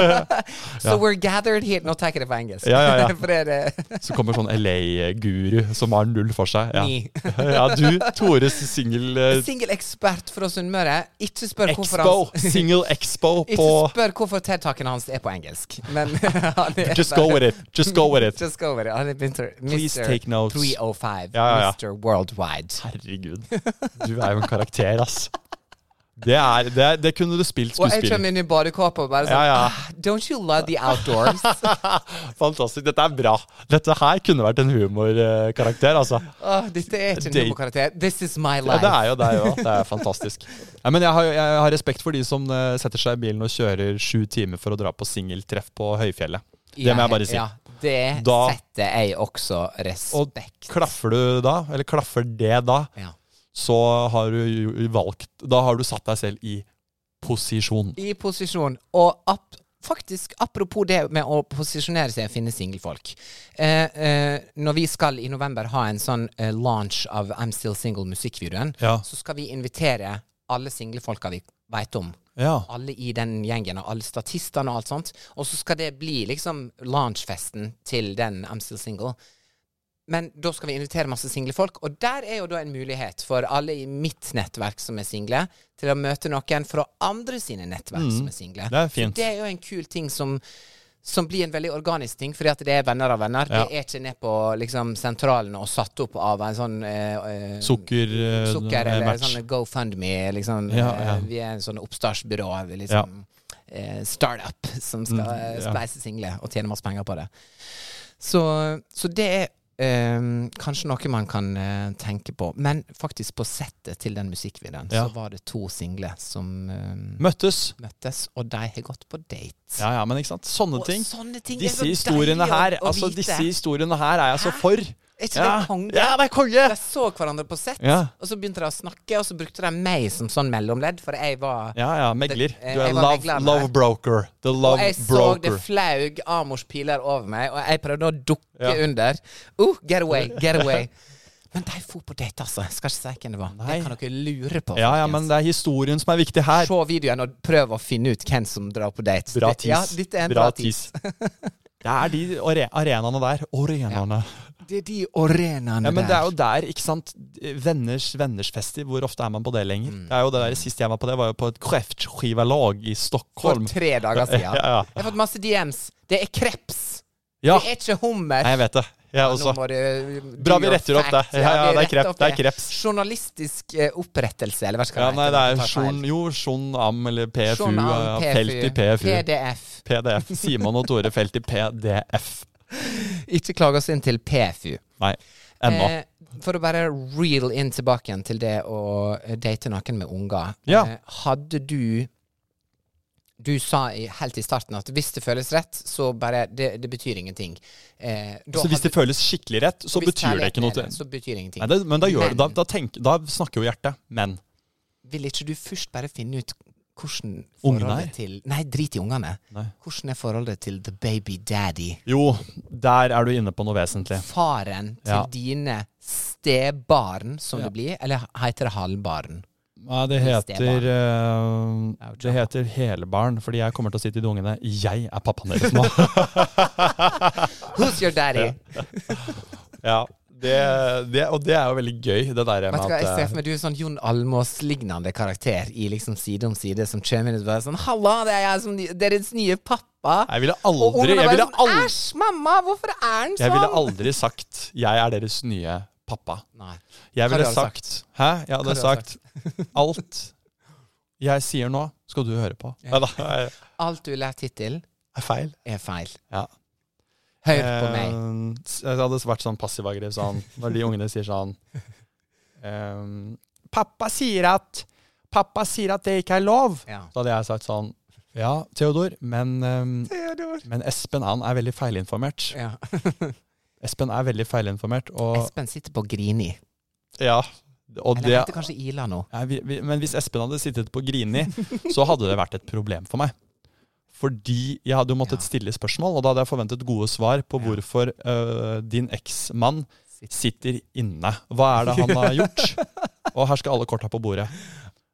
so we're gathered here Nå tar jeg det på engelsk. Ja, ja, ja. For det er det Så kommer sånn LA-guru som har null for seg. Ja, Ni. ja du, Tores singel... eh, Singelekspert fra Sunnmøre. Ikke spør hvorfor Expo! hans Single Expo Ikke på spør hvorfor TED-taken hans er på engelsk. Men han er Just go with it! Just go with it! Just go with it. Han er Mr. Please take notes. 305. Ja, ja, ja. Mr. oh Worldwide. Herregud. Du er jo en karakter, ass. Det, er, det, er, det kunne du spilt Og jeg skuespill. kommer inn i badekåpe og bare sånn Ja, ja. "Ah, Don't you love the outdoors? Fantastisk. Dette er bra. Dette her kunne vært en humorkarakter, altså. Åh, dette er ikke en Date. humorkarakter. This is my Ja, life. det er jo det. Er jo, det er fantastisk. Nei, men jeg har, jeg har respekt for de som eh, setter seg i bilen og kjører sju timer for å dra på singeltreff på høyfjellet. Det må jeg bare si. Ja, det Da- setter jeg også Og respekt. klaffer du da, eller klaffer det da, Ja. så har du jo valgt Da har du satt deg selv i posisjon. I posisjon. Og ap faktisk, apropos det med å posisjonere seg og finne singelfolk. Eh, eh, når vi skal i november ha en sånn eh, launch av I'm Still Single-musikkvideoen, Ja. så skal vi invitere alle singlefolka vi veit om. Ja. Alle i den gjengen, og alle statistene og alt sånt. Og så skal det bli liksom launchfesten til den I'm Still Single. Men da skal vi invitere masse single folk, og der er jo da en mulighet for alle i mitt nettverk som er single, til å møte noen fra andre sine nettverk som er single. Mm. Det er fint. Så det er jo en kul ting som, som blir en veldig organisk ting, fordi at det er venner av venner. Ja. Det er ikke ned på liksom, sentralen og satt opp av en sånn eh, eh, Sukker, eh, Sukker eh, eller match. sånn GoFundMe. Liksom, Ja, eh, ja. Vi er en sånn oppstartsbyrå. Vi er liksom, eh, startup som skal eh, Mm, ja. spleise single og tjene masse penger på det. Så, så det er eh, kanskje noe man kan eh, tenke på. Men faktisk på settet til den musikkvideoen Ja. så var det to single som eh, Møttes. møttes, og de har gått på date. Ja, ja, men ikke sant. Sånne Og ting. sånne ting er så Disse deilig historiene å- her å Altså, vite. disse historiene her er jeg så Hæ? for. Er ikke Ja. det konge? Ja, det er konge! De så hverandre på sett, Ja. og så begynte de å snakke, og så brukte de meg som sånn mellomledd, for jeg var Ja, ja, megler. Det- eh, Du er jeg var love, megleren her. love broker. The Og love jeg så det broker. flaug Amors piler over meg, og jeg prøvde å dukke Ja. under. Oh, get away, get away. Men de for på date, altså. Jeg skal ikke si hvem det var. Nei. Det kan dere lure på. Ja, ja, folkens. men det er historien som er viktig her. Se videoen og prøv å finne ut hvem som drar på date. Bra Det- Ja, tis. dette er en Bra bra tis. tis. Det er de are arenaene der. Arenaene. Det er de arenaene Ja, men det der. er jo der, ikke sant. Venners venners fester. Hvor ofte er man på det lenger? Mm. Det er jo det der Sist jeg var på det, var jo på et kreftskivalag i For Stockholm. tre dager siden. Ja, ja. Jeg har fått masse DMs. Det er kreps. Ja, Det er ikke hummer. Nei, jeg vet det. Jeg Nå også. må du, Bra, vi do your retter opp fact. det. Ja, ja, vi det er retter kreps, opp det er kreps. Journalistisk eh, opprettelse, eller hva skal Ja, det nei, hete? det Jeg er tar feil. Sjon, jo, Sjon Am eller PFU. Journal, ja, Felt i PFU. PDF. PDF. Simon og Tore Felt i PDF. Ikke klag oss inn til PFU. Nei, ennå. Eh, for å bare reel inn tilbake igjen til det å eh, date noen med unger. Ja. Eh, hadde du Du sa i, helt i starten at hvis det føles rett, så bare Det, det betyr ingenting. Eh, da så hvis det hadde- føles skikkelig rett, så hvis betyr det kjærligheten ikke noe. er Til. det, Så betyr det ingenting. Nei, det, men da, gjør, Men- da, da, tenk, da snakker jo hjertet. Men. vil ikke du først bare finne ut hvordan Ungene forholdet er? til Nei, drit i ungene. Nei. Hvordan er forholdet til the baby daddy? Jo, der er du inne på noe vesentlig. Faren til Ja. dine stebarn, som det blir, eller heter det halvbarn? Nei, det heter eh, Det heter helbarn, fordi jeg kommer til å si til de ungene Jeg er pappaen deres nå. Who's your daddy? ja, det, det, og det er jo veldig gøy, det der Vet du med hva, jeg ser at for eh, meg du er sånn Jon Almås-lignende karakter i liksom Side om side, som kommer inn og bare sånn 'Halla, det er jeg som ny- deres nye pappa'. Jeg ville og aldri ungene Jeg bare ville sånn aldri, 'Æsj, mamma, hvorfor er han sånn?' jeg ville aldri sagt 'Jeg er deres nye pappa'. Nei. Jeg Hva ville hadde du sagt Hæ? Jeg hadde hadde sagt Alt jeg sier nå, skal du høre på. Nei da, er Alt du har lært hittil, er feil. er feil. Ja. Hør på meg. Eh, s- Jeg hadde vært sånn passiv-aggressiv sånn, når de ungene sier sånn ehm, Pappa sier at Pappa sier at det ikke er lov! Ja. Så hadde jeg sagt sånn Ja, Theodor, men, ehm, men Espen han er veldig feilinformert. Ja. Espen er veldig feilinformert, og Espen sitter på Grini. Ja. Og Eller det heter kanskje Ila nå. Nei, vi, vi, men hvis Espen hadde sittet på Grini, så hadde det vært et problem for meg. Fordi jeg hadde jo måttet Ja. stille spørsmål, og da hadde jeg forventet gode svar på hvorfor øh, din eksmann sitter inne. Hva er det han har gjort? Og her skal alle korta på bordet.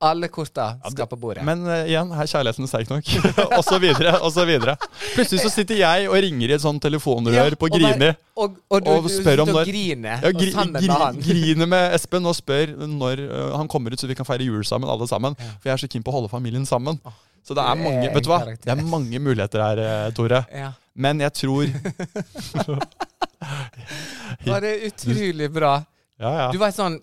Alle korta skal på bordet. Men eh, igjen, her er kjærligheten sterk nok. og så videre, og så videre. Plutselig så sitter jeg og ringer i et sånt telefonrør på og bare- Grini. Og, og du, du og spør om sitter og når- griner Ja, og gri, sammen gri, med han. griner med Espen og spør når eh, han kommer ut, så vi kan feire jul sammen, alle sammen. For jeg er så keen på å holde familien sammen. Så det er det er mange en vet du hva? karakter. Det er mange muligheter her, eh, Tore. Ja. Men jeg tror Var det utrolig bra. ja, ja. Du var sånn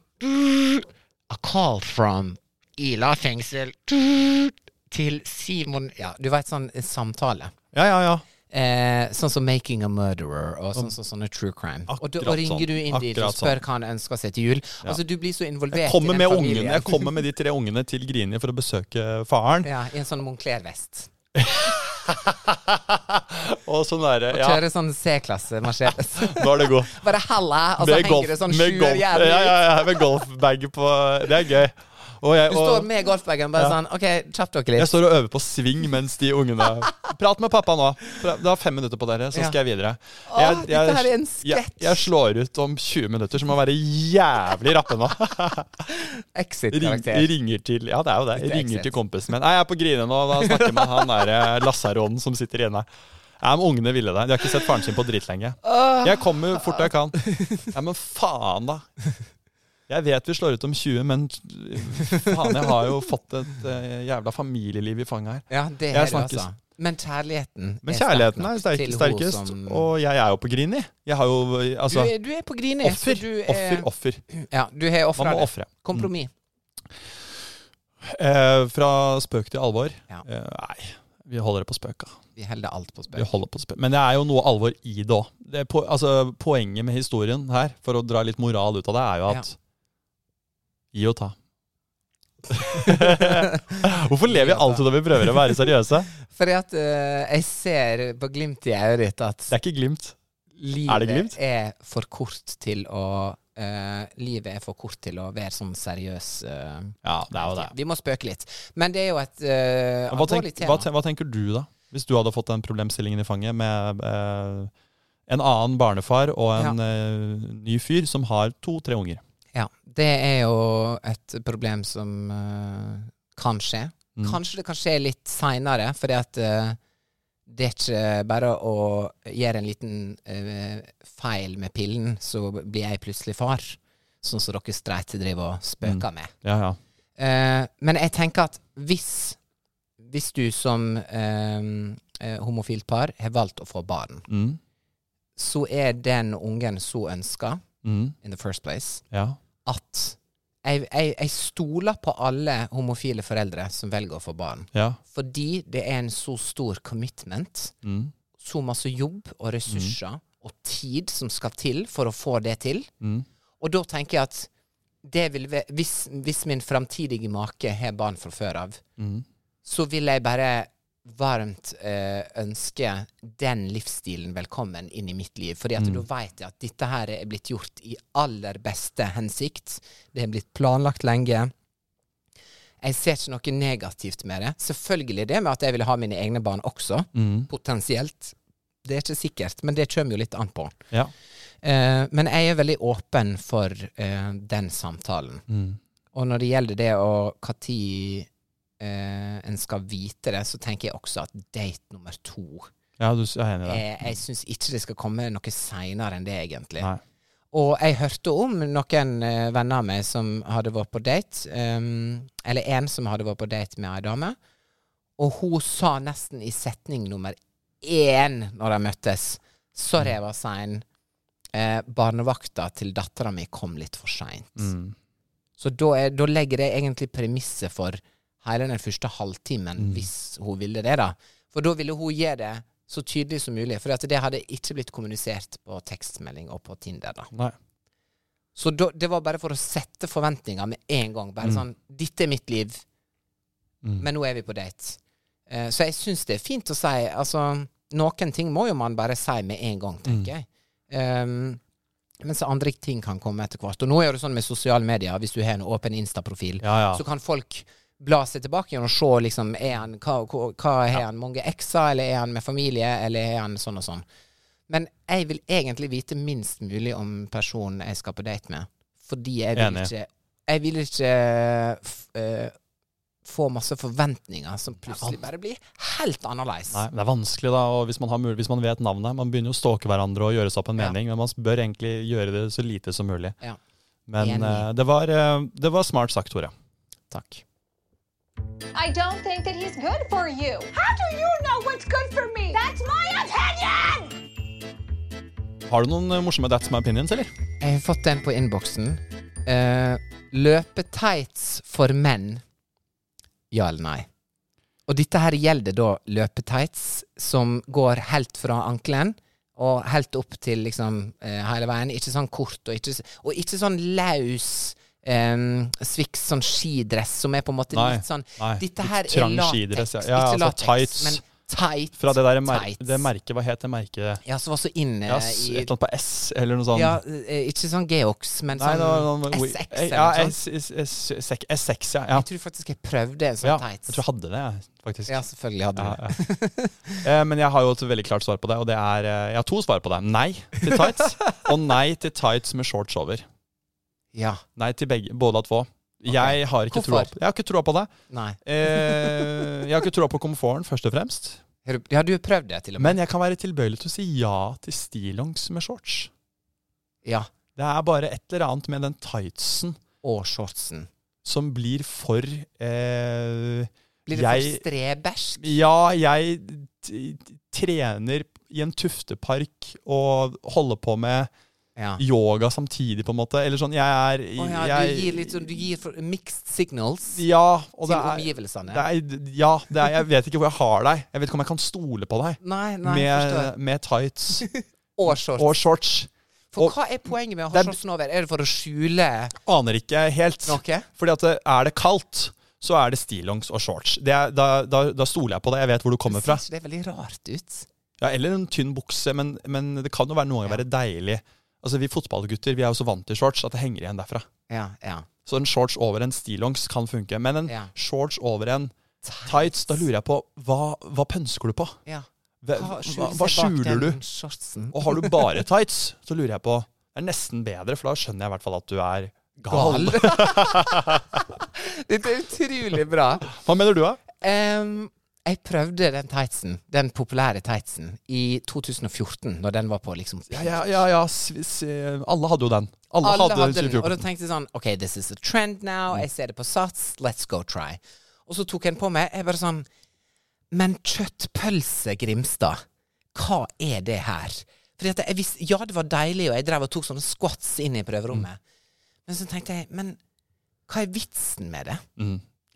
A call from Ila fengsel til Simon Ja, du veit sånn samtale. ja, ja, ja. Eh, sånn som 'Making a Murderer' og sånn som sånne true crime. Og, da, og Akkurat ringer du inn sånn. dit og Akkurat spør hva han ønsker seg til jul. Altså, du blir så involvert Jeg kommer, i med den ungene, familien. jeg kommer med de tre ungene til Grini for å besøke faren. Ja, I en sånn Moncler-vest. Og sånn derre Ja, Kjører sånn C-klasse Mercedes. nå er det god. Bare halla, og så henger det sånn med golf- sjuerjævlig ja, ut. ja, ja, med golfbag på Det er gøy. Og jeg, Du og, står med golfbagen bare sånn OK, kjapp dere jeg litt. står og øver på sving mens de ungene Prat med pappa nå. Pra- Du har fem minutter på dere, så Ja. skal jeg videre. Åh, dette her er en sketsj. jeg, jeg slår ut om 20 minutter, så må jeg være jævlig rappe nå. Ring, Exit-karakter. ringer til Ja, det er jo det. Litt Ringer exit. til kompisen min. Nei, jeg er på grine nå. Da snakker jeg med han derre lasaronen som sitter inne. Ja, men Ungene ville det. De har ikke sett faren sin på dritlenge. Jeg kommer fort jeg kan. Ja, men faen, da. Jeg vet vi slår ut om 20, men faen, jeg har jo fått et eh, jævla familieliv i fanget her. Ja, det Jeg er det, snakkes. altså. Men kjærligheten Men sterk kjærligheten nok er sterk, til hun sterkest, som- og jeg er jo på Grini. Jeg har jo eh, du, altså er, du er på Grini. så Offer, du er, offer, offer. Ja, du har offret Man må det. ofre. Kompromiss. Eh, fra spøk til alvor. Ja. Eh, nei, vi holder det på spøk, da. Vi holder alt på Vi spøk. holder på spøk. Men det er jo noe alvor i det òg. Po altså, poenget med historien her, for å dra litt moral ut av det, er jo at gi og ta. Hvorfor lever vi Gi og ta. alltid når vi prøver å være seriøse? Fordi at eh, jeg ser på glimtet i øyet ditt at Det er ikke glimt. livet er, glimt? for kort til å eh, Livet er for kort til å være sånn seriøs. eh, Ja, det er jo det. Vi må spøke litt. Men det er jo et eh, Men Hva, tenk, alvorlig hva, tema. ten, hva tenker du, da? Hvis du hadde fått den problemstillingen i fanget med eh, en annen barnefar og en eh, ny fyr som har to-tre unger. Ja, det er jo et problem som eh, kan skje. Mm. Kanskje det kan skje litt seinere, fordi at eh, det er ikke bare å gjøre en liten eh, feil med pillen, så blir jeg plutselig far. Sånn som dere streite driver og spøker med. Ja, ja. Eh, men jeg tenker at hvis, hvis du som eh, eh, homofilt par har valgt å få barn, Mm. så er den ungen så ønska Mm. in the first place ja. at jeg, jeg, jeg stoler på alle homofile foreldre som velger å få barn. Ja. Fordi det er en så stor commitment, Mm. så masse jobb og ressurser og tid som skal til for å få det til. Mm. Og da tenker jeg at det vil være, hvis, hvis min framtidige make har barn fra før av, Mm. så vil jeg bare varmt eh, ønske den livsstilen velkommen inn i mitt liv. Fordi at Mm. da vet jeg at dette her er blitt gjort i aller beste hensikt. Det er blitt planlagt lenge. Jeg ser ikke noe negativt med det. Selvfølgelig det med at jeg vil ha mine egne barn også, Mm. potensielt. Det er ikke sikkert, men det kommer jo litt an på. ja. Eh, men jeg er veldig åpen for eh, den samtalen. Mm. Og når det gjelder det å når eh, en skal vite det, så tenker jeg også at date nummer to Ja, du s- jeg er enig i det. Jeg, jeg syns ikke det skal komme noe seinere enn det, egentlig. Nei. Og jeg hørte om noen eh, venner av meg som hadde vært på date, ehm, eller en som hadde vært på date med ei dame, og hun sa nesten i setning nummer én når de møttes Sorry, jeg var sein. Eh, barnevakta til dattera mi kom litt for seint. Mm. Så da, er, da legger jeg egentlig premisset for hele den første halvtimen, hvis hun ville det, da. For da ville hun gi det så tydelig som mulig, for at det hadde ikke blitt kommunisert på tekstmelding og på Tinder, da. Nei. Så da, det var bare for å sette forventninger med en gang. Bare sånn 'Dette er mitt liv, Mm. men nå er vi på date'. Eh, så jeg syns det er fint å si Altså, noen ting må jo man bare si med en gang, tenker jeg. Um, mens andre ting kan komme etter hvert. Og nå er det sånn med sosiale medier, hvis du har en åpen Insta-profil, Ja, ja. så kan folk bla seg tilbake igjen og se liksom, er han, hva, hva, hva har han mange ekser, eller er han med familie, eller er han sånn og sånn. Men jeg vil egentlig vite minst mulig om personen jeg skal på date med, fordi jeg vil Enig. ikke Jeg vil ikke f- eh, får masse forventninger som plutselig bare blir helt annerledes. Nei, Det er vanskelig, da, og hvis man, har mul hvis man vet navnet. Man begynner jo å stalke hverandre og gjøre seg opp en Ja. mening, men man bør egentlig gjøre det så lite som mulig. Ja. Men Enig. eh, det, var, eh, det var smart sagt, Tore. Takk. I don't think that he's good for you. How do you know what's good for me? That's my opinion! Har du noen eh, morsomme That's my opinions, eller? Jeg har fått en på innboksen. Eh, løpetights for menn. Ja eller nei? Og dette her gjelder da løpetights som går helt fra ankelen og helt opp til liksom eh, hele veien. Ikke sånn kort og ikke, s- og ikke sånn laus eh, sviks, sånn skidress som er på en måte Nei, litt sånn nei. Dette Litt her er trang lateks. skidress, ja. Ja, ikke altså latex, tights. men tight. Fra det, der mer tights. det merket, hva het det merket? Ja, som var så inne Ja, s- et i eller annet på S, eller noe sånt. ja, eh, ikke sånn Geox, men Nei, sånn det var noen- eh, SX eller Ja, noe sånt. S- S- S- S- S6, ja. ja. Jeg tror faktisk jeg prøvde en sånn Ja, jeg tights. tror jeg hadde det, jeg, faktisk. ja, selvfølgelig hadde du det. Eh, Men jeg har jo et veldig klart svar på det, og det er eh, Jeg har to svar på det. Nei til tights, og nei til tights med shorts over. Ja. Nei til begge, både at få. Jeg har ikke troa Hvorfor? på, jeg har ikke troa på det. Nei. Eh, jeg har ikke troa på komforten, først og fremst. Har du, ja, du har prøvd det, til og med. Men jeg kan være tilbøyelig til å si ja til stillongs med shorts. Ja. Det er bare et eller annet med den tightsen Og shortsen. som blir for eh, Blir det Jeg- for strebersk? Ja, jeg t- t- trener i en tuftepark og holder på med Ja. yoga samtidig, på en måte. Eller sånn, jeg er Å ja, jeg, du gir litt sånn Du gir for mixed signals Ja, og til det er, omgivelsene. det er Ja, det er, jeg vet ikke hvor jeg har deg. Jeg vet ikke om jeg kan stole på deg nei, nei, med, forstår. med tights Og shorts. og shorts. for og- hva er poenget med å ha Det er- shortsen over? Er det for å skjule Aner ikke helt. noe? Fordi at det- er det kaldt, så er det stillongs og shorts. Det er, da, da, da stoler jeg på deg. Jeg vet hvor du kommer fra. Synes ikke det er veldig rart ut? Ja, eller en tynn bukse, men, men det kan jo være noe å være deilig. Altså, Vi fotballgutter vi er jo så vant til shorts at det henger igjen derfra. Ja, ja. Så en shorts over en stillongs kan funke. Men en Ja. shorts over en tights, da lurer jeg på hva, hva pønsker du på? ja. Hva, Eh, hva, skjuler hva seg bak skjuler du? den Shortsen? Og har du bare tights, så lurer jeg på Det er nesten bedre, for da skjønner jeg i hvert fall at du er gal. Dette er utrolig bra. Hva mener du, da? Ehm, jeg prøvde den tightsen, den populære tightsen, i 2014, når den var på liksom Ja, ja, ja, ja s- s- Alle hadde jo den. Alle, Alle hadde, hadde den. den, og da 2014. tenkte jeg sånn OK, this is a trend now. Jeg ser det på Sats. Let's go try. Og så tok jeg den på meg. Jeg bare sånn Men kjøttpølse, Grimstad. Hva er det her? Fordi at jeg visste, Ja, det var deilig, og jeg drev og tok sånne squats inn i prøverommet. Mm. Men så tenkte jeg Men hva er vitsen med det?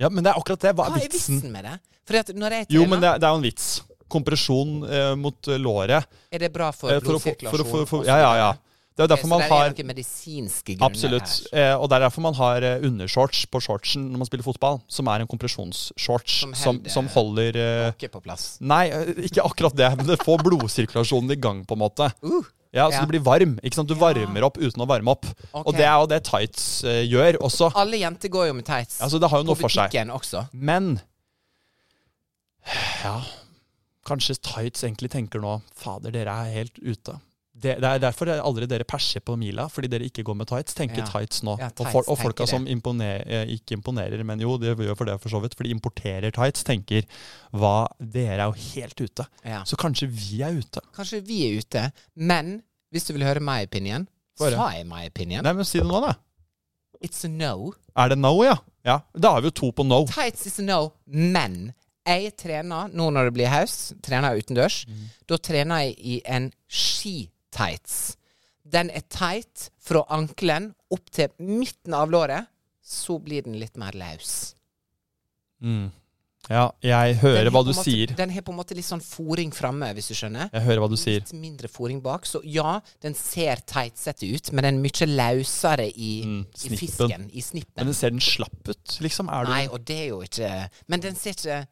Ja, men det er akkurat det. Hva Hva er vitsen? med det? Fordi at når jeg Jo, men det trener, er, det er jo en vits. Kompresjon eh, mot eh, låret. er det bra for Eh, for å få- blodsirkulasjon? for å få- for- og så Ja, ja, ja. videre? Det er jo derfor Ok, så man det har er noen medisinske grunner Absolutt. her. Eh, og det er derfor man har eh, undershorts på shortsen når man spiller fotball, som er en kompresjonsshorts Som som, som, holder- holder eh, Ikke på plass. Nei, eh, ikke akkurat det, men det får blodsirkulasjonen i gang, på en måte. ja, Så Uh, ja. du blir varm. ikke sant? Du varmer opp uten å varme opp. Ok. Og det er jo det tights eh, gjør også. Alle jenter går jo med tights. Altså, det har jo noe for seg. På butikken også. Men Ja, kanskje Tights egentlig tenker nå Fader, dere er helt ute. Det, det er derfor det er aldri dere perser på mila, fordi dere ikke går med tights. Tenker Ja. tights nå. Ja, og, tights fol og tenker folka det. som imponer eh, ikke imponerer, men jo, det gjør for det for så vidt, for de importerer tights, tenker hva Dere er jo helt ute. Ja. Så kanskje vi er ute. Kanskje vi er ute, men hvis du vil høre my opinion, Få høre. sa jeg my opinion. Nei, men si det nå, da. It's a no. Er det no, ja? Ja, Da har vi jo to på no. Tights is a no, men jeg trener nå når det blir høst, trener jeg utendørs. Mm. Da trener jeg i en skitights. Den er tight fra ankelen opp til midten av låret. Så blir den litt mer løs. Mm. Ja, jeg hører Den har hva på du en måte, sier. Den har på en måte litt sånn foring framme, hvis du skjønner. Jeg hører hva du sier. Litt mindre foring bak. Så ja, den ser tightsette ut, men den er mye løsere i, Mm, i snippen. fisken. I Men snippen. ser den slapp ut, liksom? Er du Nei, og det er jo ikke Men den ser ikke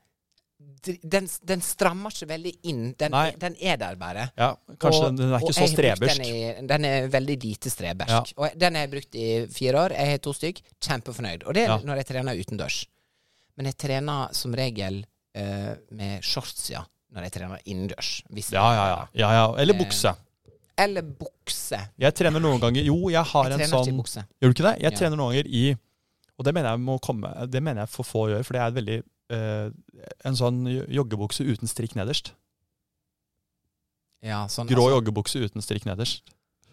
dri- Den, den strammer ikke veldig inn. Den, Nei. den er der bare. Ja, kanskje Og- den, den er og ikke så jeg har brukt strebersk. Den, i, den er veldig lite strebersk. Og den har jeg brukt i fire år. Jeg har to stykk. Kjempefornøyd. Og det er Ja. når jeg trener utendørs. Men jeg trener som regel eh, med shorts, ja. Når jeg trener innendørs. hvis Ja, ja, ja. ja, ja. Eh. Eller bukse. jeg- Eller bukse. Jeg trener noen ganger Jo, jeg har Jeg en trener ikke sånn i bukse. Gjør du ikke det? Jeg Ja. trener noen ganger i Og det mener jeg må komme, det mener jeg for få gjør, for det er et veldig eh, En sånn jo- joggebukse uten strikk nederst. Ja, sånn, Grå altså- joggebukse uten strikk nederst.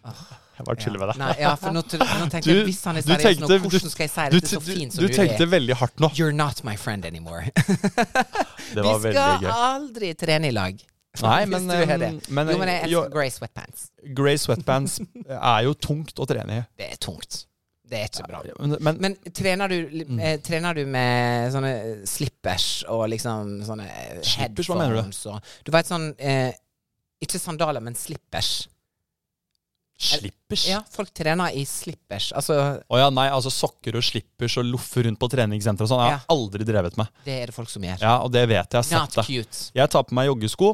Ah, Jeg bare tuller ja. med deg. Nei, ja, for nå, t- nå tenkte Du- jeg hvis han er du seriøs nå, tenkte- du- hvordan skal jeg si Du, dette så du, fint som du du, tenkte er? veldig hardt nå. You're not my friend anymore. Det var Vi veldig skal gøy. aldri trene i lag. Nei, Hvis men, du er eh, det. men, jo, men jeg jo- elsker grey sweatpants. Grey sweatbands er jo tungt å trene i. Det er tungt. Det er ikke bra. Men, men, Men trener du, li- Mm. eh, trener du med sånne eh, slippers og liksom sånne eh, Slippers, hva mener du? headphones og Du vet sånn eh, Ikke sandaler, men slippers. slippers? Å ja. Ja, folk trener i slippers. Altså, nei, altså sokker og slippers og loffer rundt på treningssenter og sånn. Jeg har aldri drevet med. det er det folk som gjør. Ja, og det vet jeg. Jeg har Not sett det. cute. Jeg tar på meg joggesko.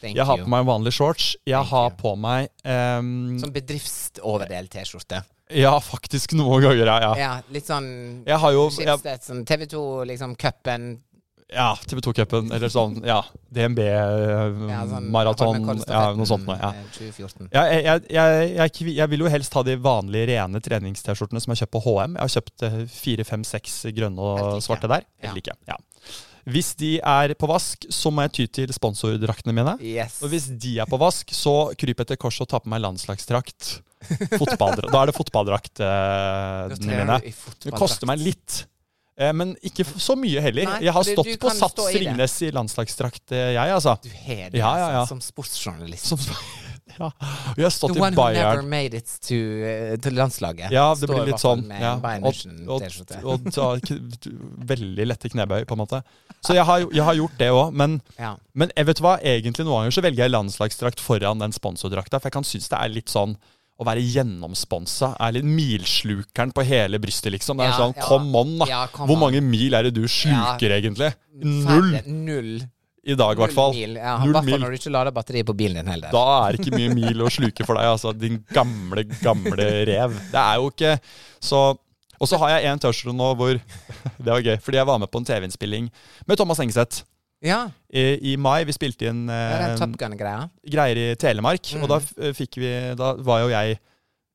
Thank Jeg har you. på meg vanlige shorts. Jeg Thank har you. på meg ehm, Som bedriftsoverdel-T-skjorte. Ja, faktisk noen ganger, ja. ja. Ja, litt sånn Jeg har jo jeg, Schibsted, sånn TV2, liksom cupen. Ja, TV2-cupen eller sånn. Ja. Ja, sånn DNB-maraton. Mm, Ja, Holmenkollstafetten, noe sånt noe. Ja. eh, 2014. Ja, jeg, jeg, jeg, jeg, kvi- jeg vil jo helst ha de vanlige rene trenings-T-skjortene som jeg har kjøpt på HM. Jeg har kjøpt eh, fire, fem, seks grønne og Helt like. svarte der. Ja. Helt like. Ja. Hvis de er på vask, så må jeg ty til sponsordraktene mine. Yes. Og hvis de er på vask, så kryper jeg til korset og tar på meg landslagsdrakt. Fotballdra- da er det Da fotballdraktene trener mine. du i Det fotballdrakt. koster meg litt. Eh, Men ikke f- så mye heller. Nei, jeg har fordi stått du på kan Sats stå i det. Ringnes i landslagsdrakt, eh, jeg, altså. Du har det Ja, ja, ja. altså, som sportsjournalist. Som, ja. Og Jeg har The stått i one who never Bayern. made it to, eh, til landslaget. Ja, det Står blir i litt hvert fall sånn. Med Ja. en Og, og, Bayern-T-skjorte. og ta k- t- veldig lette knebøy, på en måte. Så jeg har, jeg har gjort det òg, men, Ja. men jeg vet hva, egentlig noen ganger så velger jeg landslagsdrakt foran den sponsordrakta, for jeg kan synes det er litt sånn å være gjennomsponsa er litt milslukeren på hele brystet, liksom. Det er Ja, sånn, ja. come on, da! Ja, come Hvor on. mange mil er det du sluker, egentlig? Null Færre- Null. i dag, i hvert fall. Null mil. Ja, I Null hvert fall mil. når du ikke lader batteriet på bilen din heller. Da er det ikke mye mil å sluke for deg, altså. Din gamle, gamle rev. Det er jo ikke så Og så har jeg en T-skjorte nå hvor Det var gøy, fordi jeg var med på en TV-innspilling med Thomas Engseth ja, i, i mai. Vi spilte inn det er Mm. eh, den Top Gun-greia. greier i Telemark, og da f- eh, fikk vi Da var jo jeg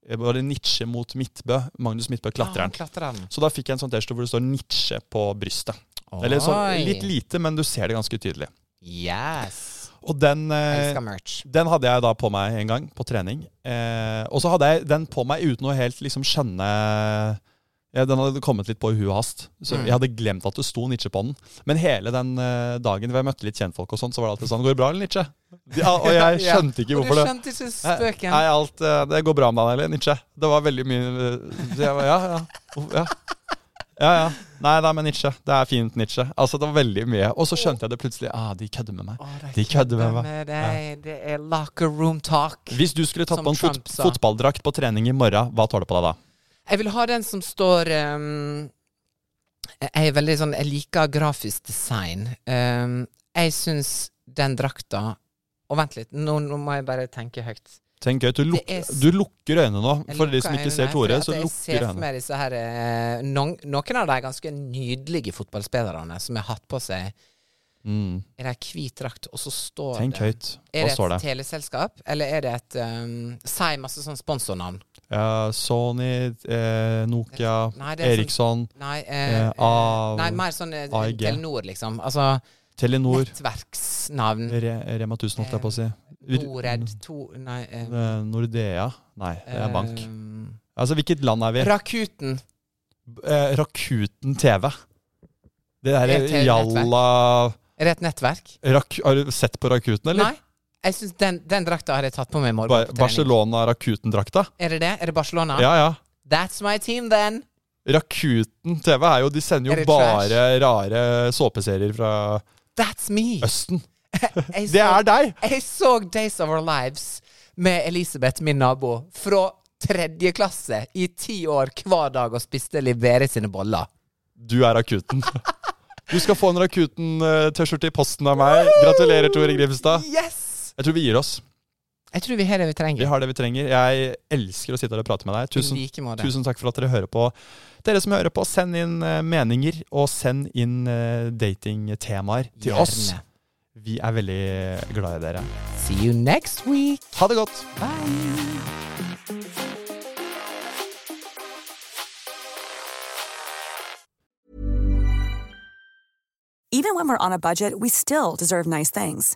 jeg var det Nitsje mot Midtbø. Magnus Midtbø, klatreren. Ja, Ah, klatreren. Så da fikk jeg en sånn T-skjorte hvor det står Nitsje på brystet. Eller sånn Oi. litt lite, men du ser det ganske tydelig. Yes. Og den eh, Elsker merch. den hadde jeg da på meg en gang, på trening. Eh, og så hadde jeg den på meg uten å helt liksom skjønne ja, Den hadde kommet litt på i huet og hast. Mm. Så jeg hadde glemt at det sto Nietzsche på den. Men hele den eh, dagen hvor jeg møtte litt kjentfolk, og sånn, så var det alltid sånn Går det bra, eller Nietzsche? Ja, og jeg Ja. skjønte ikke hvorfor Og det du skjønte ikke spøken. Nei, alt, eh, det går bra med deg, eller Nietzsche? Det var veldig mye eh, så jeg, var, Ja, ja. Oh, ja. Ja, ja. Nei, nei, men Nietzsche. Det er fint, Nietzsche. Altså, det var veldig mye. Og så skjønte jeg det plutselig. Ah, de kødder med meg. de kødder med meg. Med deg. Det er locker room talk. Hvis du skulle tatt Som på en fot Trump sa. fotballdrakt på trening i morgen, hva tar du på deg da? Jeg vil ha den som står ehm, Jeg er veldig sånn Jeg liker grafisk design. Ehm, jeg syns den drakta Og vent litt, nå, nå må jeg bare tenke høyt. Tenk gøy, du, luk Det er s- du lukker øynene nå. Jeg For de som lukker ikke øynene, ser Tore, fordi at så jeg ser lukker for øynene. meg disse her eh, noen, noen av de ganske nydelige fotballspillerne som har hatt på seg Mm. Er det ei hvit drakt, og så står Tenk det høyt. Er Hva det står et det? teleselskap, eller er det et ehm, Si masse sånn sponsornavn. Ja, Sony, eh, Nokia, Nei, det er sånn- Eriksson, Nei, eh, Eh, A- nei mer sånn eh, AEG. Telenor, liksom. Altså Telenor, nettverksnavn. Re Rema 1000, holdt jeg på Eh, å si. Norad to Nei. eh, Eh, Nordea. Nei, det er bank. ehm, Altså, hvilket land er vi? Rakuten. Eh, Rakuten TV. Det Det er derre et jalla Er det et nettverk? Rak Har du sett på Rakuten, eller? Nei. Jeg synes den, den drakta har jeg tatt på meg i morgen. Ba på trening. Barcelona-Rakuten-drakta? Er det det? Er det Barcelona? Ja, ja. That's my team, then! Rakuten TV er jo De sender Er jo det bare trash? rare såpeserier fra That's me! Østen. Jeg Det så- er deg! Jeg så Days of Our Lives med Elisabeth, min nabo, fra tredje klasse i ti år hver dag og spiste Livere sine boller. Du er Rakuten. Du skal få en Rakuten-T-skjorte i posten av meg. Gratulerer, Tore Grimstad. Yes! Jeg tror vi gir oss. Jeg tror vi har det vi Vi trenger. har det vi trenger. Jeg elsker å sitte her og prate med deg. Tusen, I like måte. tusen takk for at dere hører på. Dere som hører på, send inn eh, meninger, og send inn eh, datingtemaer til oss. Gjerne. Vi er veldig glad i dere. See you next week. Ha det godt! Bye! even when we're on a budget, we still deserve nice things.